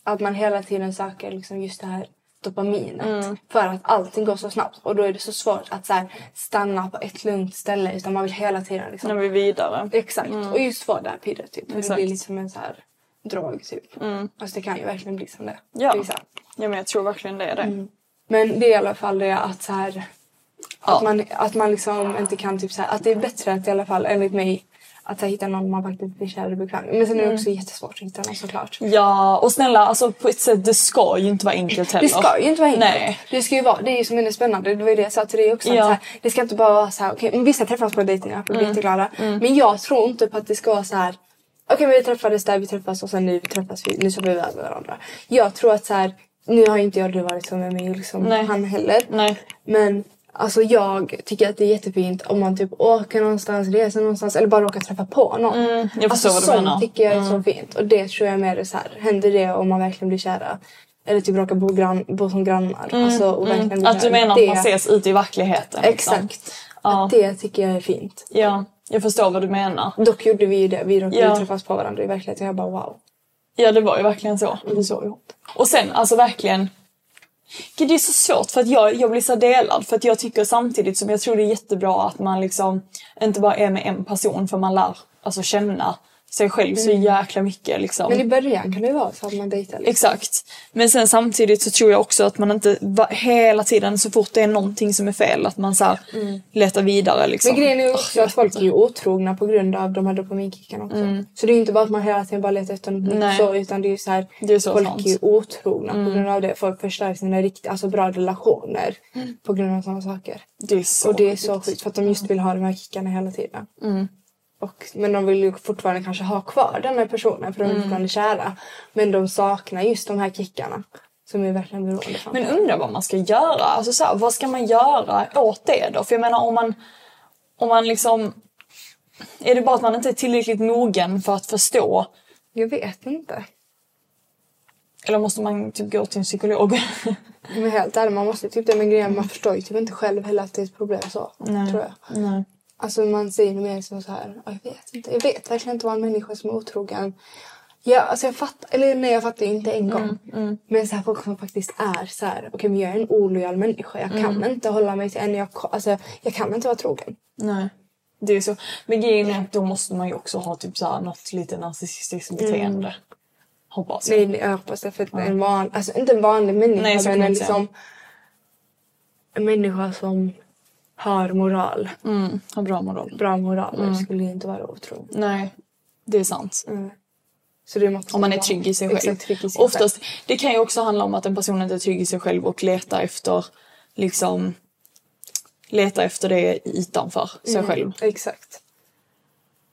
S2: att man hela tiden söker liksom just det här dopaminet.
S1: Mm.
S2: För att allting går så snabbt och då är det så svårt att så här, stanna på ett lugnt ställe utan man vill hela tiden liksom.
S1: När vi är vidare.
S2: Exakt. Och just få det här pirret typ. För det
S1: Mm. Exakt. Mm.
S2: blir lite som en så här drog typ. Alltså det kan ju verkligen bli som det.
S1: Ja.
S2: Det är så här.
S1: Ja, men jag tror verkligen det är det.
S2: Men det är i alla fall det att så här, att, man, att man liksom inte kan typ så här, att det är bättre att i alla fall enligt mig att så här, hitta någon man faktiskt blir kär och bekväm med. Men sen är
S1: Mm.
S2: det också jättesvårt att hitta någon såklart.
S1: Ja, och snälla, alltså på ett sätt, det ska ju inte vara enkelt heller.
S2: Det ska ju inte vara enkelt.
S1: Nej.
S2: Det ska ju vara, det är ju som är det spännande. Det var ju det jag sa till dig också.
S1: Ja. Mm.
S2: Att så här, det ska inte bara vara så här, okej, men vissa träffas på en dejtingapp och blir jätteglada. Men jag tror inte på att det ska vara så här. Okej men vi träffades där, vi träffas och sen nu träffas vi, nu sover vi över varandra. Jag tror att så här, nu har inte jag och du varit så med mig liksom
S1: Nej.
S2: han heller.
S1: Nej.
S2: Men alltså jag tycker att det är jättefint om man typ åker någonstans, reser någonstans eller bara råkar träffa på någon.
S1: jag förstår
S2: alltså
S1: vad du
S2: sånt
S1: menar. Mm.
S2: tycker jag är så fint. Och det tror jag mer är så här, händer det om man verkligen blir kära. Eller typ råkar bo, grann, bo som grannar. Alltså, och verkligen blir
S1: Mm, Att du
S2: kära.
S1: menar att
S2: det,
S1: man ses ute i verkligheten. liksom.
S2: Exakt.
S1: Ja.
S2: Att det tycker jag är fint.
S1: Ja, jag förstår vad du menar.
S2: Dock gjorde vi ju det. Vi råkade
S1: Ja.
S2: ju träffas på varandra i verkligheten. Jag bara wow.
S1: Ja, det var ju verkligen så. Vi såg ihop. Och sen, alltså verkligen. Gud, Det är så svårt för att jag, jag blir så delad för att jag tycker samtidigt som jag tror det är jättebra att man liksom inte bara är med en person för man lär alltså, känna sig själv så jäkla mycket liksom.
S2: Mm. Men i början kan det ju vara så att man dejtar liksom. lite.
S1: Exakt. Men sen samtidigt så tror jag också att man inte va- hela tiden så fort det är någonting som är fel att man så här letar vidare liksom.
S2: Mm. Men grejen är ju
S1: Åh,
S2: också
S1: jag
S2: att
S1: vet
S2: folk är
S1: inte. Mm.
S2: ju otrogna på grund av de här dopaminkickarna också. Så det är ju inte bara att man hela tiden bara letar efter något
S1: Nej.
S2: nytt så utan det är ju så här.
S1: Det är så
S2: folk
S1: sant. Mm.
S2: är ju otrogna på grund av det. Folk förstör sina riktigt, alltså bra relationer på grund av sådana saker.
S1: Mm. Det är så Mm.
S2: Och det är så sjukt för att de just vill ha de här kickarna hela tiden. Och, men de vill ju fortfarande kanske ha kvar den här personen för de är
S1: Mm.
S2: fortfarande kära. Men de saknar just de här kickarna. Som är verkligen beroende från
S1: Men undrar vad man ska göra. Alltså så här, vad ska man göra åt det då? För jag menar om man, om man liksom... Är det bara att man inte är tillräckligt mogen för att förstå?
S2: Jag vet inte.
S1: Eller måste man typ gå till en psykolog? (laughs)
S2: Men helt ärligt, man måste typ det. Men grejen, man förstår ju typ inte själv heller att det är ett problem så. Tror jag.
S1: Nej.
S2: Alltså man säger nog mer som så här, "Ja, jag vet inte. Jag vet verkligen inte vad en människa som är otrogen. Ja, alltså jag fattar, eller nej jag fattar ju inte en gång.
S1: Mm,
S2: Men så här folk som faktiskt är så här, okej men jag är en olojal människa. Jag kan
S1: Mm.
S2: inte hålla mig till en, jag, ko- alltså jag kan inte vara trogen.
S1: Nej. Det är så. Men grejen är att då måste man ju också ha typ så här, något lite narcissistiskt beteende. Hoppas jag.
S2: Nej, nej, jag hoppas Mm. det för att en van, alltså inte en vanlig människa
S1: Nej, så kan
S2: men
S1: man
S2: en
S1: inte säga.
S2: liksom en människa som har moral.
S1: Mm, har bra moral.
S2: Bra moral. Du skulle ju inte vara otrogen.
S1: Nej, det är sant.
S2: Så det måste
S1: Om man är
S2: vara-
S1: trygg i sig själv.
S2: Mm, Exakt, trygg i sig
S1: Oftast, det kan ju också handla om att en person inte är trygg i sig själv och letar efter liksom letar efter det utanför sig själv.
S2: själv. Exakt.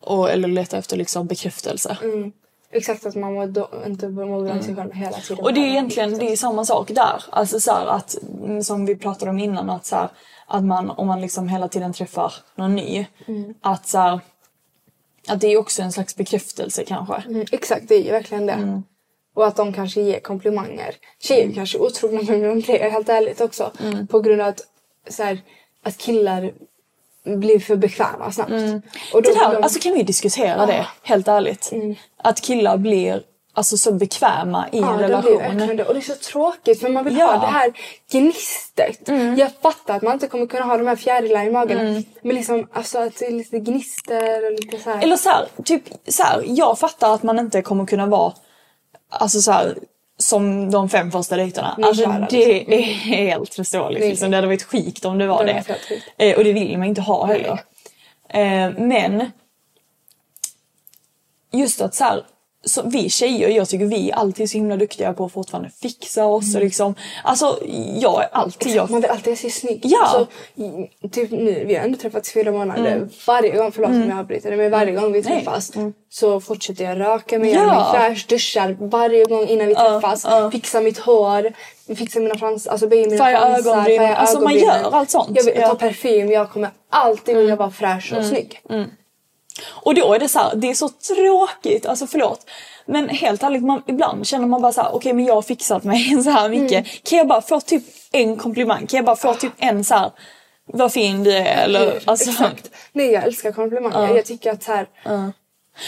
S1: Och, eller letar efter liksom bekräftelse.
S2: Mm, Exakt att man mår då, inte mår bra i sig själv hela tiden.
S1: Mm. Och det är egentligen det är samma sak där. Alltså så här att, mm, som vi pratade om innan, att, så här, att man, om man liksom hela tiden träffar någon ny,
S2: Mm.
S1: att, så här, att det är också en slags bekräftelse kanske.
S2: Mm, Exakt, det är ju verkligen det.
S1: Mm.
S2: Och att de kanske ger komplimanger. Tjejer kanske är otrogna med de blir helt ärligt också.
S1: Mm.
S2: På grund av att, så här, att killar blir för bekväma snabbt. Och då blir
S1: Det där,
S2: de-
S1: Mm.
S2: Mm.
S1: alltså kan vi diskutera det, helt ärligt? Att killar blir alltså, så bekväma i en
S2: Ja, det blir verkligen
S1: relation.
S2: det. Och det är så tråkigt för man vill
S1: Ja. Mm.
S2: ha det här gnistet. Jag fattar att man inte kommer kunna ha de här fjärilarna i magen. Men liksom alltså att det är lite gnister och lite så här.
S1: Eller så här, typ så här, jag fattar att man inte kommer kunna vara alltså så här, som de fem första dejterna. Alltså
S2: kära,
S1: det är helt förståeligt. Liksom. Det hade varit skikt om det var
S2: Det hade
S1: det.
S2: varit helt sjukt.
S1: Eh, och det vill man inte ha heller. Eh, men just att så här, så vi tjejer, jag tycker vi alltid är så himla duktiga på att fortfarande fixa oss och liksom, alltså jag är alltid, jag
S2: Mm. Man vill alltid se snygg.
S1: Alltså, Ja.
S2: Alltså, i- typ nu, vi har ändå träffats i fyra månader.
S1: Mm.
S2: Varje gång, förlåt om jag avbryter det, men varje gång vi träffas så fortsätter jag röka mig,
S1: Ja.
S2: ja. mig fräsch, duschar varje gång innan vi träffas. Fixar mitt hår, fixar mina fransar, alltså böjer mina
S1: Färgar
S2: fransar.
S1: ögonbryn.
S2: färgar
S1: Alltså, man
S2: ögonbrynen.
S1: gör allt sånt.
S2: Jag, vill, jag
S1: Ja. Mm.
S2: tar parfym, jag kommer alltid vilja vara fräsch och snygg.
S1: Och då är det så här, det är så tråkigt, alltså förlåt. Men helt ärligt, man, ibland känner man bara så här, okej men jag har fixat mig (laughs) så här mycket.
S2: Mm.
S1: Kan jag bara få typ en komplimang? Kan jag bara
S2: Ah.
S1: få typ en så här, vad fin du är eller alltså.
S2: Mm, Exakt. Nej jag älskar komplimanger. Jag tycker att så här,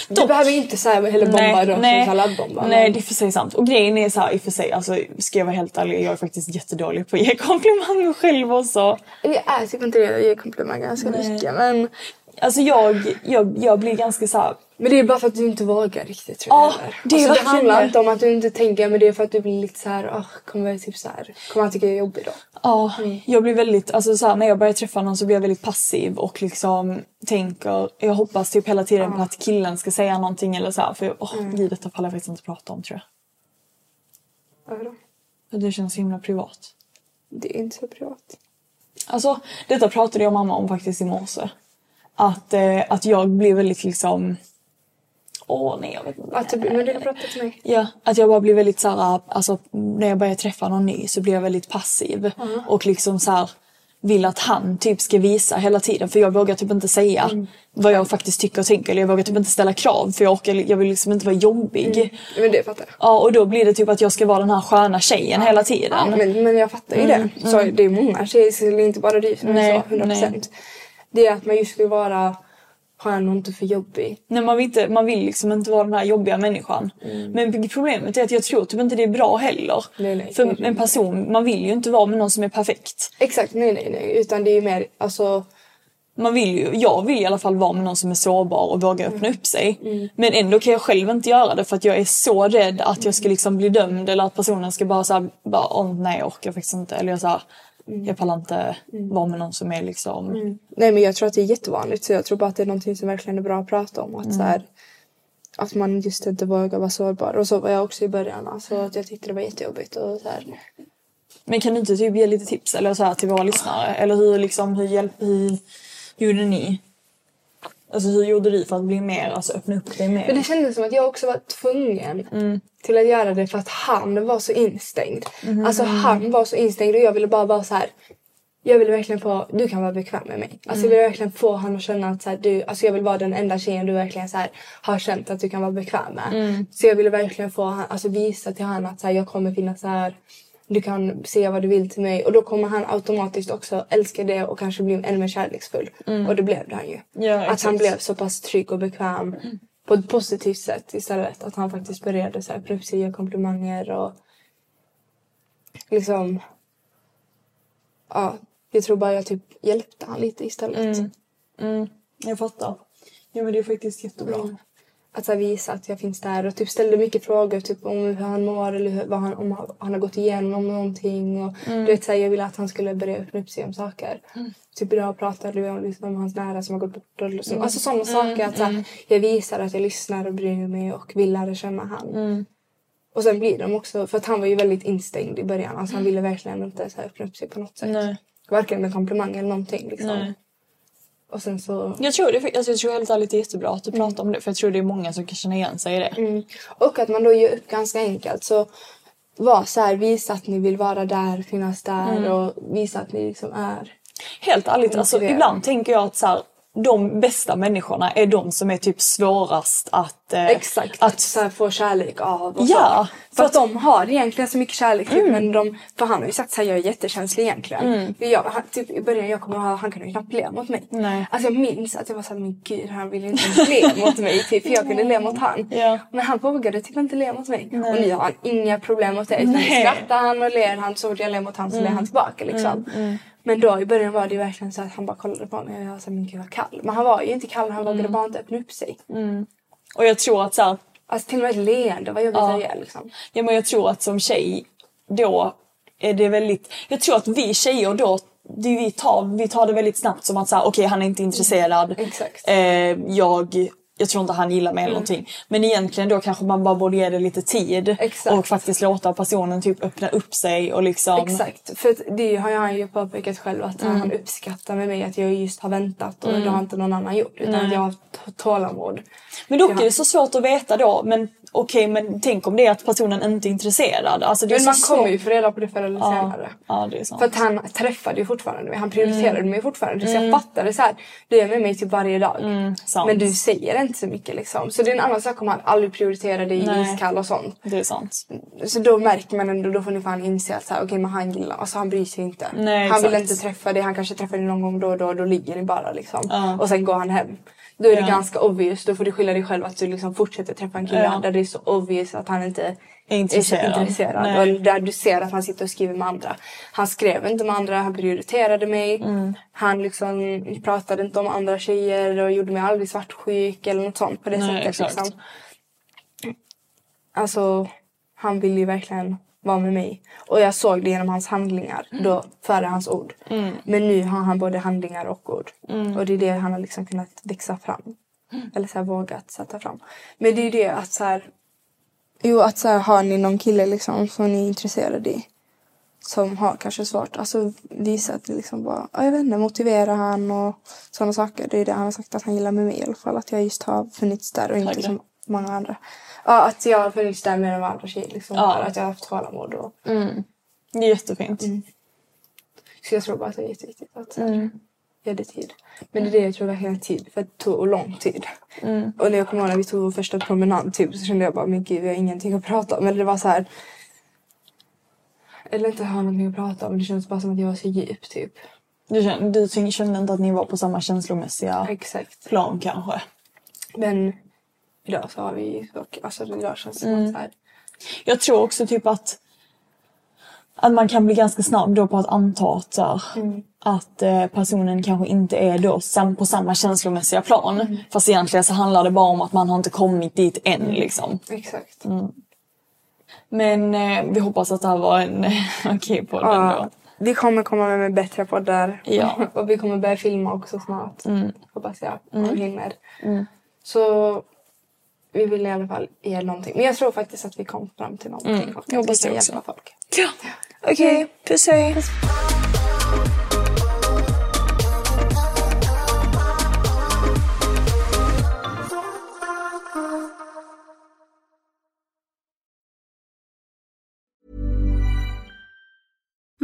S2: du
S1: Dock-
S2: behöver inte så här, heller bomba dem som salladbomba.
S1: nej,
S2: men-
S1: det är för sig sant. Och grejen är så här, i och för sig, alltså ska jag vara helt ärlig, jag är faktiskt jättedålig på att ge (laughs) komplimanger själv också.
S2: Jag är typ inte det, jag ger komplimanger ganska mycket men
S1: Alltså jag, jag, jag blir ganska så här,
S2: Men det är bara för att du inte vågar riktigt tror
S1: Ja,
S2: jag. eller?
S1: det är
S2: alltså, det
S1: verkligen
S2: handlar
S1: det.
S2: inte om att du inte tänker men det är för att du blir lite så här, "Åh, kommer jag typ så här, kommer han tycka jag är jobbig då?
S1: Ja, jag blir väldigt, alltså så här, när jag börjar träffa någon så blir jag väldigt passiv och liksom tänker, jag hoppas typ hela tiden på att killen ska säga någonting eller så här, för åh, gud detta pallar jag faktiskt inte prata om tror
S2: Varför då?
S1: jag. Det känns så himla privat.
S2: Det är inte så privat.
S1: Alltså detta pratade jag och mamma om faktiskt i morse. Att, eh, att jag blir väldigt liksom, åh nej jag vet inte.
S2: Att du, men du kan prata till mig.
S1: Ja, att jag bara blir väldigt så här, alltså när jag börjar träffa någon ny så blir jag väldigt passiv
S2: Mm.
S1: och liksom så här vill att han typ ska visa hela tiden för jag vågar typ inte säga
S2: Mm.
S1: vad jag faktiskt tycker och tänker eller jag vågar typ inte ställa krav för jag, orkar, jag vill liksom inte vara jobbig.
S2: Men det fattar jag.
S1: Ja och då blir det typ att jag ska vara den här sköna tjejen hela tiden.
S2: Men, men jag fattar ju det. Så det är många tjejer, så det är inte bara du som
S1: Mm, Nej,
S2: är så 100%. Det är att man just skulle vara skön och inte för jobbig.
S1: Nej, man, vill inte, man vill liksom inte vara den här jobbiga människan. Men problemet är att jag tror typ inte det är bra heller.
S2: Mm. Nej, nej, det är
S1: för
S2: det
S1: en person, man vill ju inte vara med någon som är perfekt.
S2: Exakt, nej nej nej. Utan det är ju mer alltså
S1: man vill ju, jag vill i alla fall vara med någon som är sårbar och våga öppna upp sig.
S2: Mm.
S1: Men ändå kan jag själv inte göra det för att jag är så rädd att jag ska liksom bli dömd eller att personen ska bara såhär, bara, åh nej jag orkar faktiskt inte. Eller jag såhär,
S2: Mm.
S1: jag pallar inte vara med någon som är liksom.
S2: Nej men jag tror att det är jättevanligt så jag tror bara att det är någonting som verkligen är bra att prata om. Att, så här, att man just inte vågar vara sårbar. Och så var jag också i början. Alltså, att jag tyckte det var jättejobbigt. Och så här.
S1: Men kan du inte typ ge lite tips eller såhär till våra lyssnare? Eller hur liksom, hur hjälp, hur gjorde ni? Alltså hur gjorde du för att bli mer, alltså öppna upp dig mer?
S2: Men det kändes som att jag också var tvungen till att göra det för att han var så instängd. Alltså han var så instängd och jag ville bara vara så här. Jag ville verkligen få, du kan vara bekväm med mig. Alltså jag
S1: Mm.
S2: ville verkligen få honom att känna att så här, du, alltså jag vill vara den enda tjejen du verkligen så här, har känt att du kan vara bekväm med.
S1: Mm.
S2: Så jag ville verkligen få, han- alltså visa till honom att så här, jag kommer finnas här. Du kan säga vad du vill till mig och då kommer han automatiskt också älska det och kanske bli ännu mer kärleksfull. Och det blev han ju.
S1: Mm. Ja,
S2: att han
S1: exakt. Mm.
S2: blev så pass trygg och bekväm på ett positivt sätt istället. Att han faktiskt började så här, öppna upp sig, ge komplimanger och liksom... Ja, jag tror bara jag typ
S1: Mm.
S2: hjälpte han lite istället. Mm.
S1: Jag fattar. Ja men det är faktiskt jättebra.
S2: att så här, visa att jag finns där och typ ställde mycket frågor typ, om hur han mår eller hur, vad han, om han- han har gått igenom någonting. Och,
S1: Mm.
S2: du vet, så här, jag ville att han skulle börja öppna upp sig om saker. Typ idag pratade vi om, liksom, om hans nära som har gått bort. Och,
S1: Mm.
S2: liksom, Alltså sådana saker. Att, så här, Jag visar att jag lärar och bryr mig och vill lära känna han.
S1: Mm.
S2: Och sen blir de också, för att han var ju väldigt instängd i början. Alltså han ville verkligen inte så här, öppna upp sig på något sätt.
S1: Mm. Nej.
S2: Varken med komplimang eller någonting. Liksom.
S1: Nej.
S2: Och sen så...
S1: Jag tror, det, alltså jag tror helt ärligt det är jättebra att du pratar om det för jag tror det är många som kan känna igen sig i det.
S2: Och att man då ger upp ganska enkelt. Så var så här, visa att ni vill vara där, finnas där och visa att ni liksom är.
S1: Helt ärligt, alltså,
S2: Motiverad.
S1: ibland tänker jag att så här, de bästa människorna är de som är typ svårast att... eh,
S2: Exakt. Att
S1: Att,
S2: så här, få kärlek av och
S1: Ja,
S2: så.
S1: för
S2: För
S1: att- Mm.
S2: att de har egentligen så mycket kärlek. Typ, men de, för han har ju sagt så här, jag är jättekänslig egentligen. För Jag, han, typ, I början jag kommer ihåg, han kunde ju knappt le mot mig.
S1: Nej.
S2: Alltså jag minns att jag var så här, men gud han vill inte le mot mig. Typ, för jag kunde le mot han.
S1: Ja.
S2: Men han vågade typ inte le mot mig. Och nu har han inga problem mot det. Utan
S1: Nej. Mm.
S2: skrattar han och ler han så fort jag ler mot han så ler han tillbaka liksom. Men då i början var det ju verkligen så att han bara kollade på mig och jag var så här, men gud vad kall. Men han var ju inte kall, han
S1: Mm.
S2: vågade bara inte öppna upp sig.
S1: och jag tror att så här,
S2: Alltså till och med ett leende var jobbigt att ge liksom.
S1: Ja men jag tror att som tjej då är det väldigt... Jag tror att vi tjejer då, det vi, tar, vi tar det väldigt snabbt som att säga okej han är inte intresserad.
S2: Mm, Exakt. Mm.
S1: Eh, jag, jag tror inte han gillar mig eller någonting. Men egentligen då kanske man bara borde ge det lite tid.
S2: Exakt.
S1: Och faktiskt låta personen typ öppna upp sig och liksom...
S2: Exakt, för att det har han ju påpekat själv att
S1: Mm.
S2: han uppskattar med mig att jag just har väntat och det har inte någon annan gjort utan att jag har haft tålamod.
S1: Men dock
S2: Ja.
S1: är det så svårt att veta då. Men okej men tänk om det är att personen inte är intresserad. Alltså, det
S2: Men
S1: är så
S2: man
S1: svårt.
S2: kommer ju få reda på det förr eller
S1: ja.
S2: senare.
S1: ja det är sant. Mm.
S2: För att han träffade ju fortfarande mig, han prioriterade mig fortfarande. Så jag fattade så här, du är med mig typ varje dag.
S1: Mm, sant.
S2: Men du säger inte så mycket liksom. Så det är en annan sak om han aldrig prioriterar dig
S1: Nej.
S2: i iskall och sånt.
S1: Det är sant.
S2: Så då märker man ändå, då får ni fan inse att så här, okej men han gillar, alltså han bryr sig inte.
S1: Nej,
S2: han vill
S1: exakt.
S2: inte träffa dig, han kanske träffar dig någon gång då och då, då ligger ni bara liksom. Och sen går han hem. Då är det
S1: Ja.
S2: ganska obvious, då får du skylla dig själv att du liksom fortsätter träffa en kille
S1: Ja.
S2: där det är så obvious att han inte
S1: Är intresserad.
S2: är så intresserad.
S1: Nej.
S2: Och där du ser att han sitter och skriver med andra. Han skrev inte med andra, han prioriterade mig.
S1: Mm.
S2: Han liksom pratade inte om andra tjejer och gjorde mig aldrig svartsjuk eller något sånt på det
S1: Nej,
S2: sättet.
S1: exakt.
S2: Liksom. Alltså, han ville ju verkligen vara med mig. Och jag såg det genom hans handlingar
S1: Mm.
S2: då, före hans ord. Men nu har han både handlingar och ord.
S1: Mm.
S2: Och det är det han har liksom kunnat växa fram. Eller så här, vågat sätta fram. Men det är ju det att så här, Jo, att så här, har ni någon kille liksom som ni är intresserade i som har kanske svårt, alltså visa att ni liksom bara, ja, jag vet inte, motivera han och sådana saker. Det är det han har sagt att han gillar med mig i alla fall, att jag just har funnits där och inte
S1: Tack.
S2: som många andra. Ja, att jag har funnits där med de andra tjejer liksom,
S1: Ja.
S2: bara att jag har haft tålamod och
S1: Det är jättefint.
S2: så jag tror bara att det är jätteviktigt att så här, ge det tid. Men det är det jag tror verkligen är tid, för det tog lång tid. Och när jag kommer ihåg när vi tog vår första promenad typ så kände jag bara, men gud vi har ingenting att prata om. Eller det var så här, eller inte ha någonting att prata om, men det känns bara som att jag var så djup typ.
S1: Du kände, du ty- kände inte att ni var på samma känslomässiga
S2: Exakt.
S1: plan kanske?
S2: Men idag så har vi och alltså idag känns det som att så här,
S1: Jag tror också typ att, att man kan bli ganska snabb då på att anta att, så här, att eh, personen kanske inte är då sam- på samma känslomässiga plan. Fast egentligen så handlar det bara om att man har inte kommit dit än liksom.
S2: exakt.
S1: Men eh, vi hoppas att det här var en (laughs) okej podd ändå.
S2: Ja, vi kommer komma med, med bättre poddar.
S1: Ja.
S2: (laughs)
S1: Mm.
S2: och vi kommer börja filma också snart. Hoppas jag. Om vi hinner. Så vi vill i alla fall ge någonting. Men jag tror faktiskt att vi kom fram till någonting. Och att
S1: Jag Mm. hoppas
S2: vi kan
S1: det också.
S2: hjälpa folk.
S1: Ja.
S2: Okej,
S1: puss hej!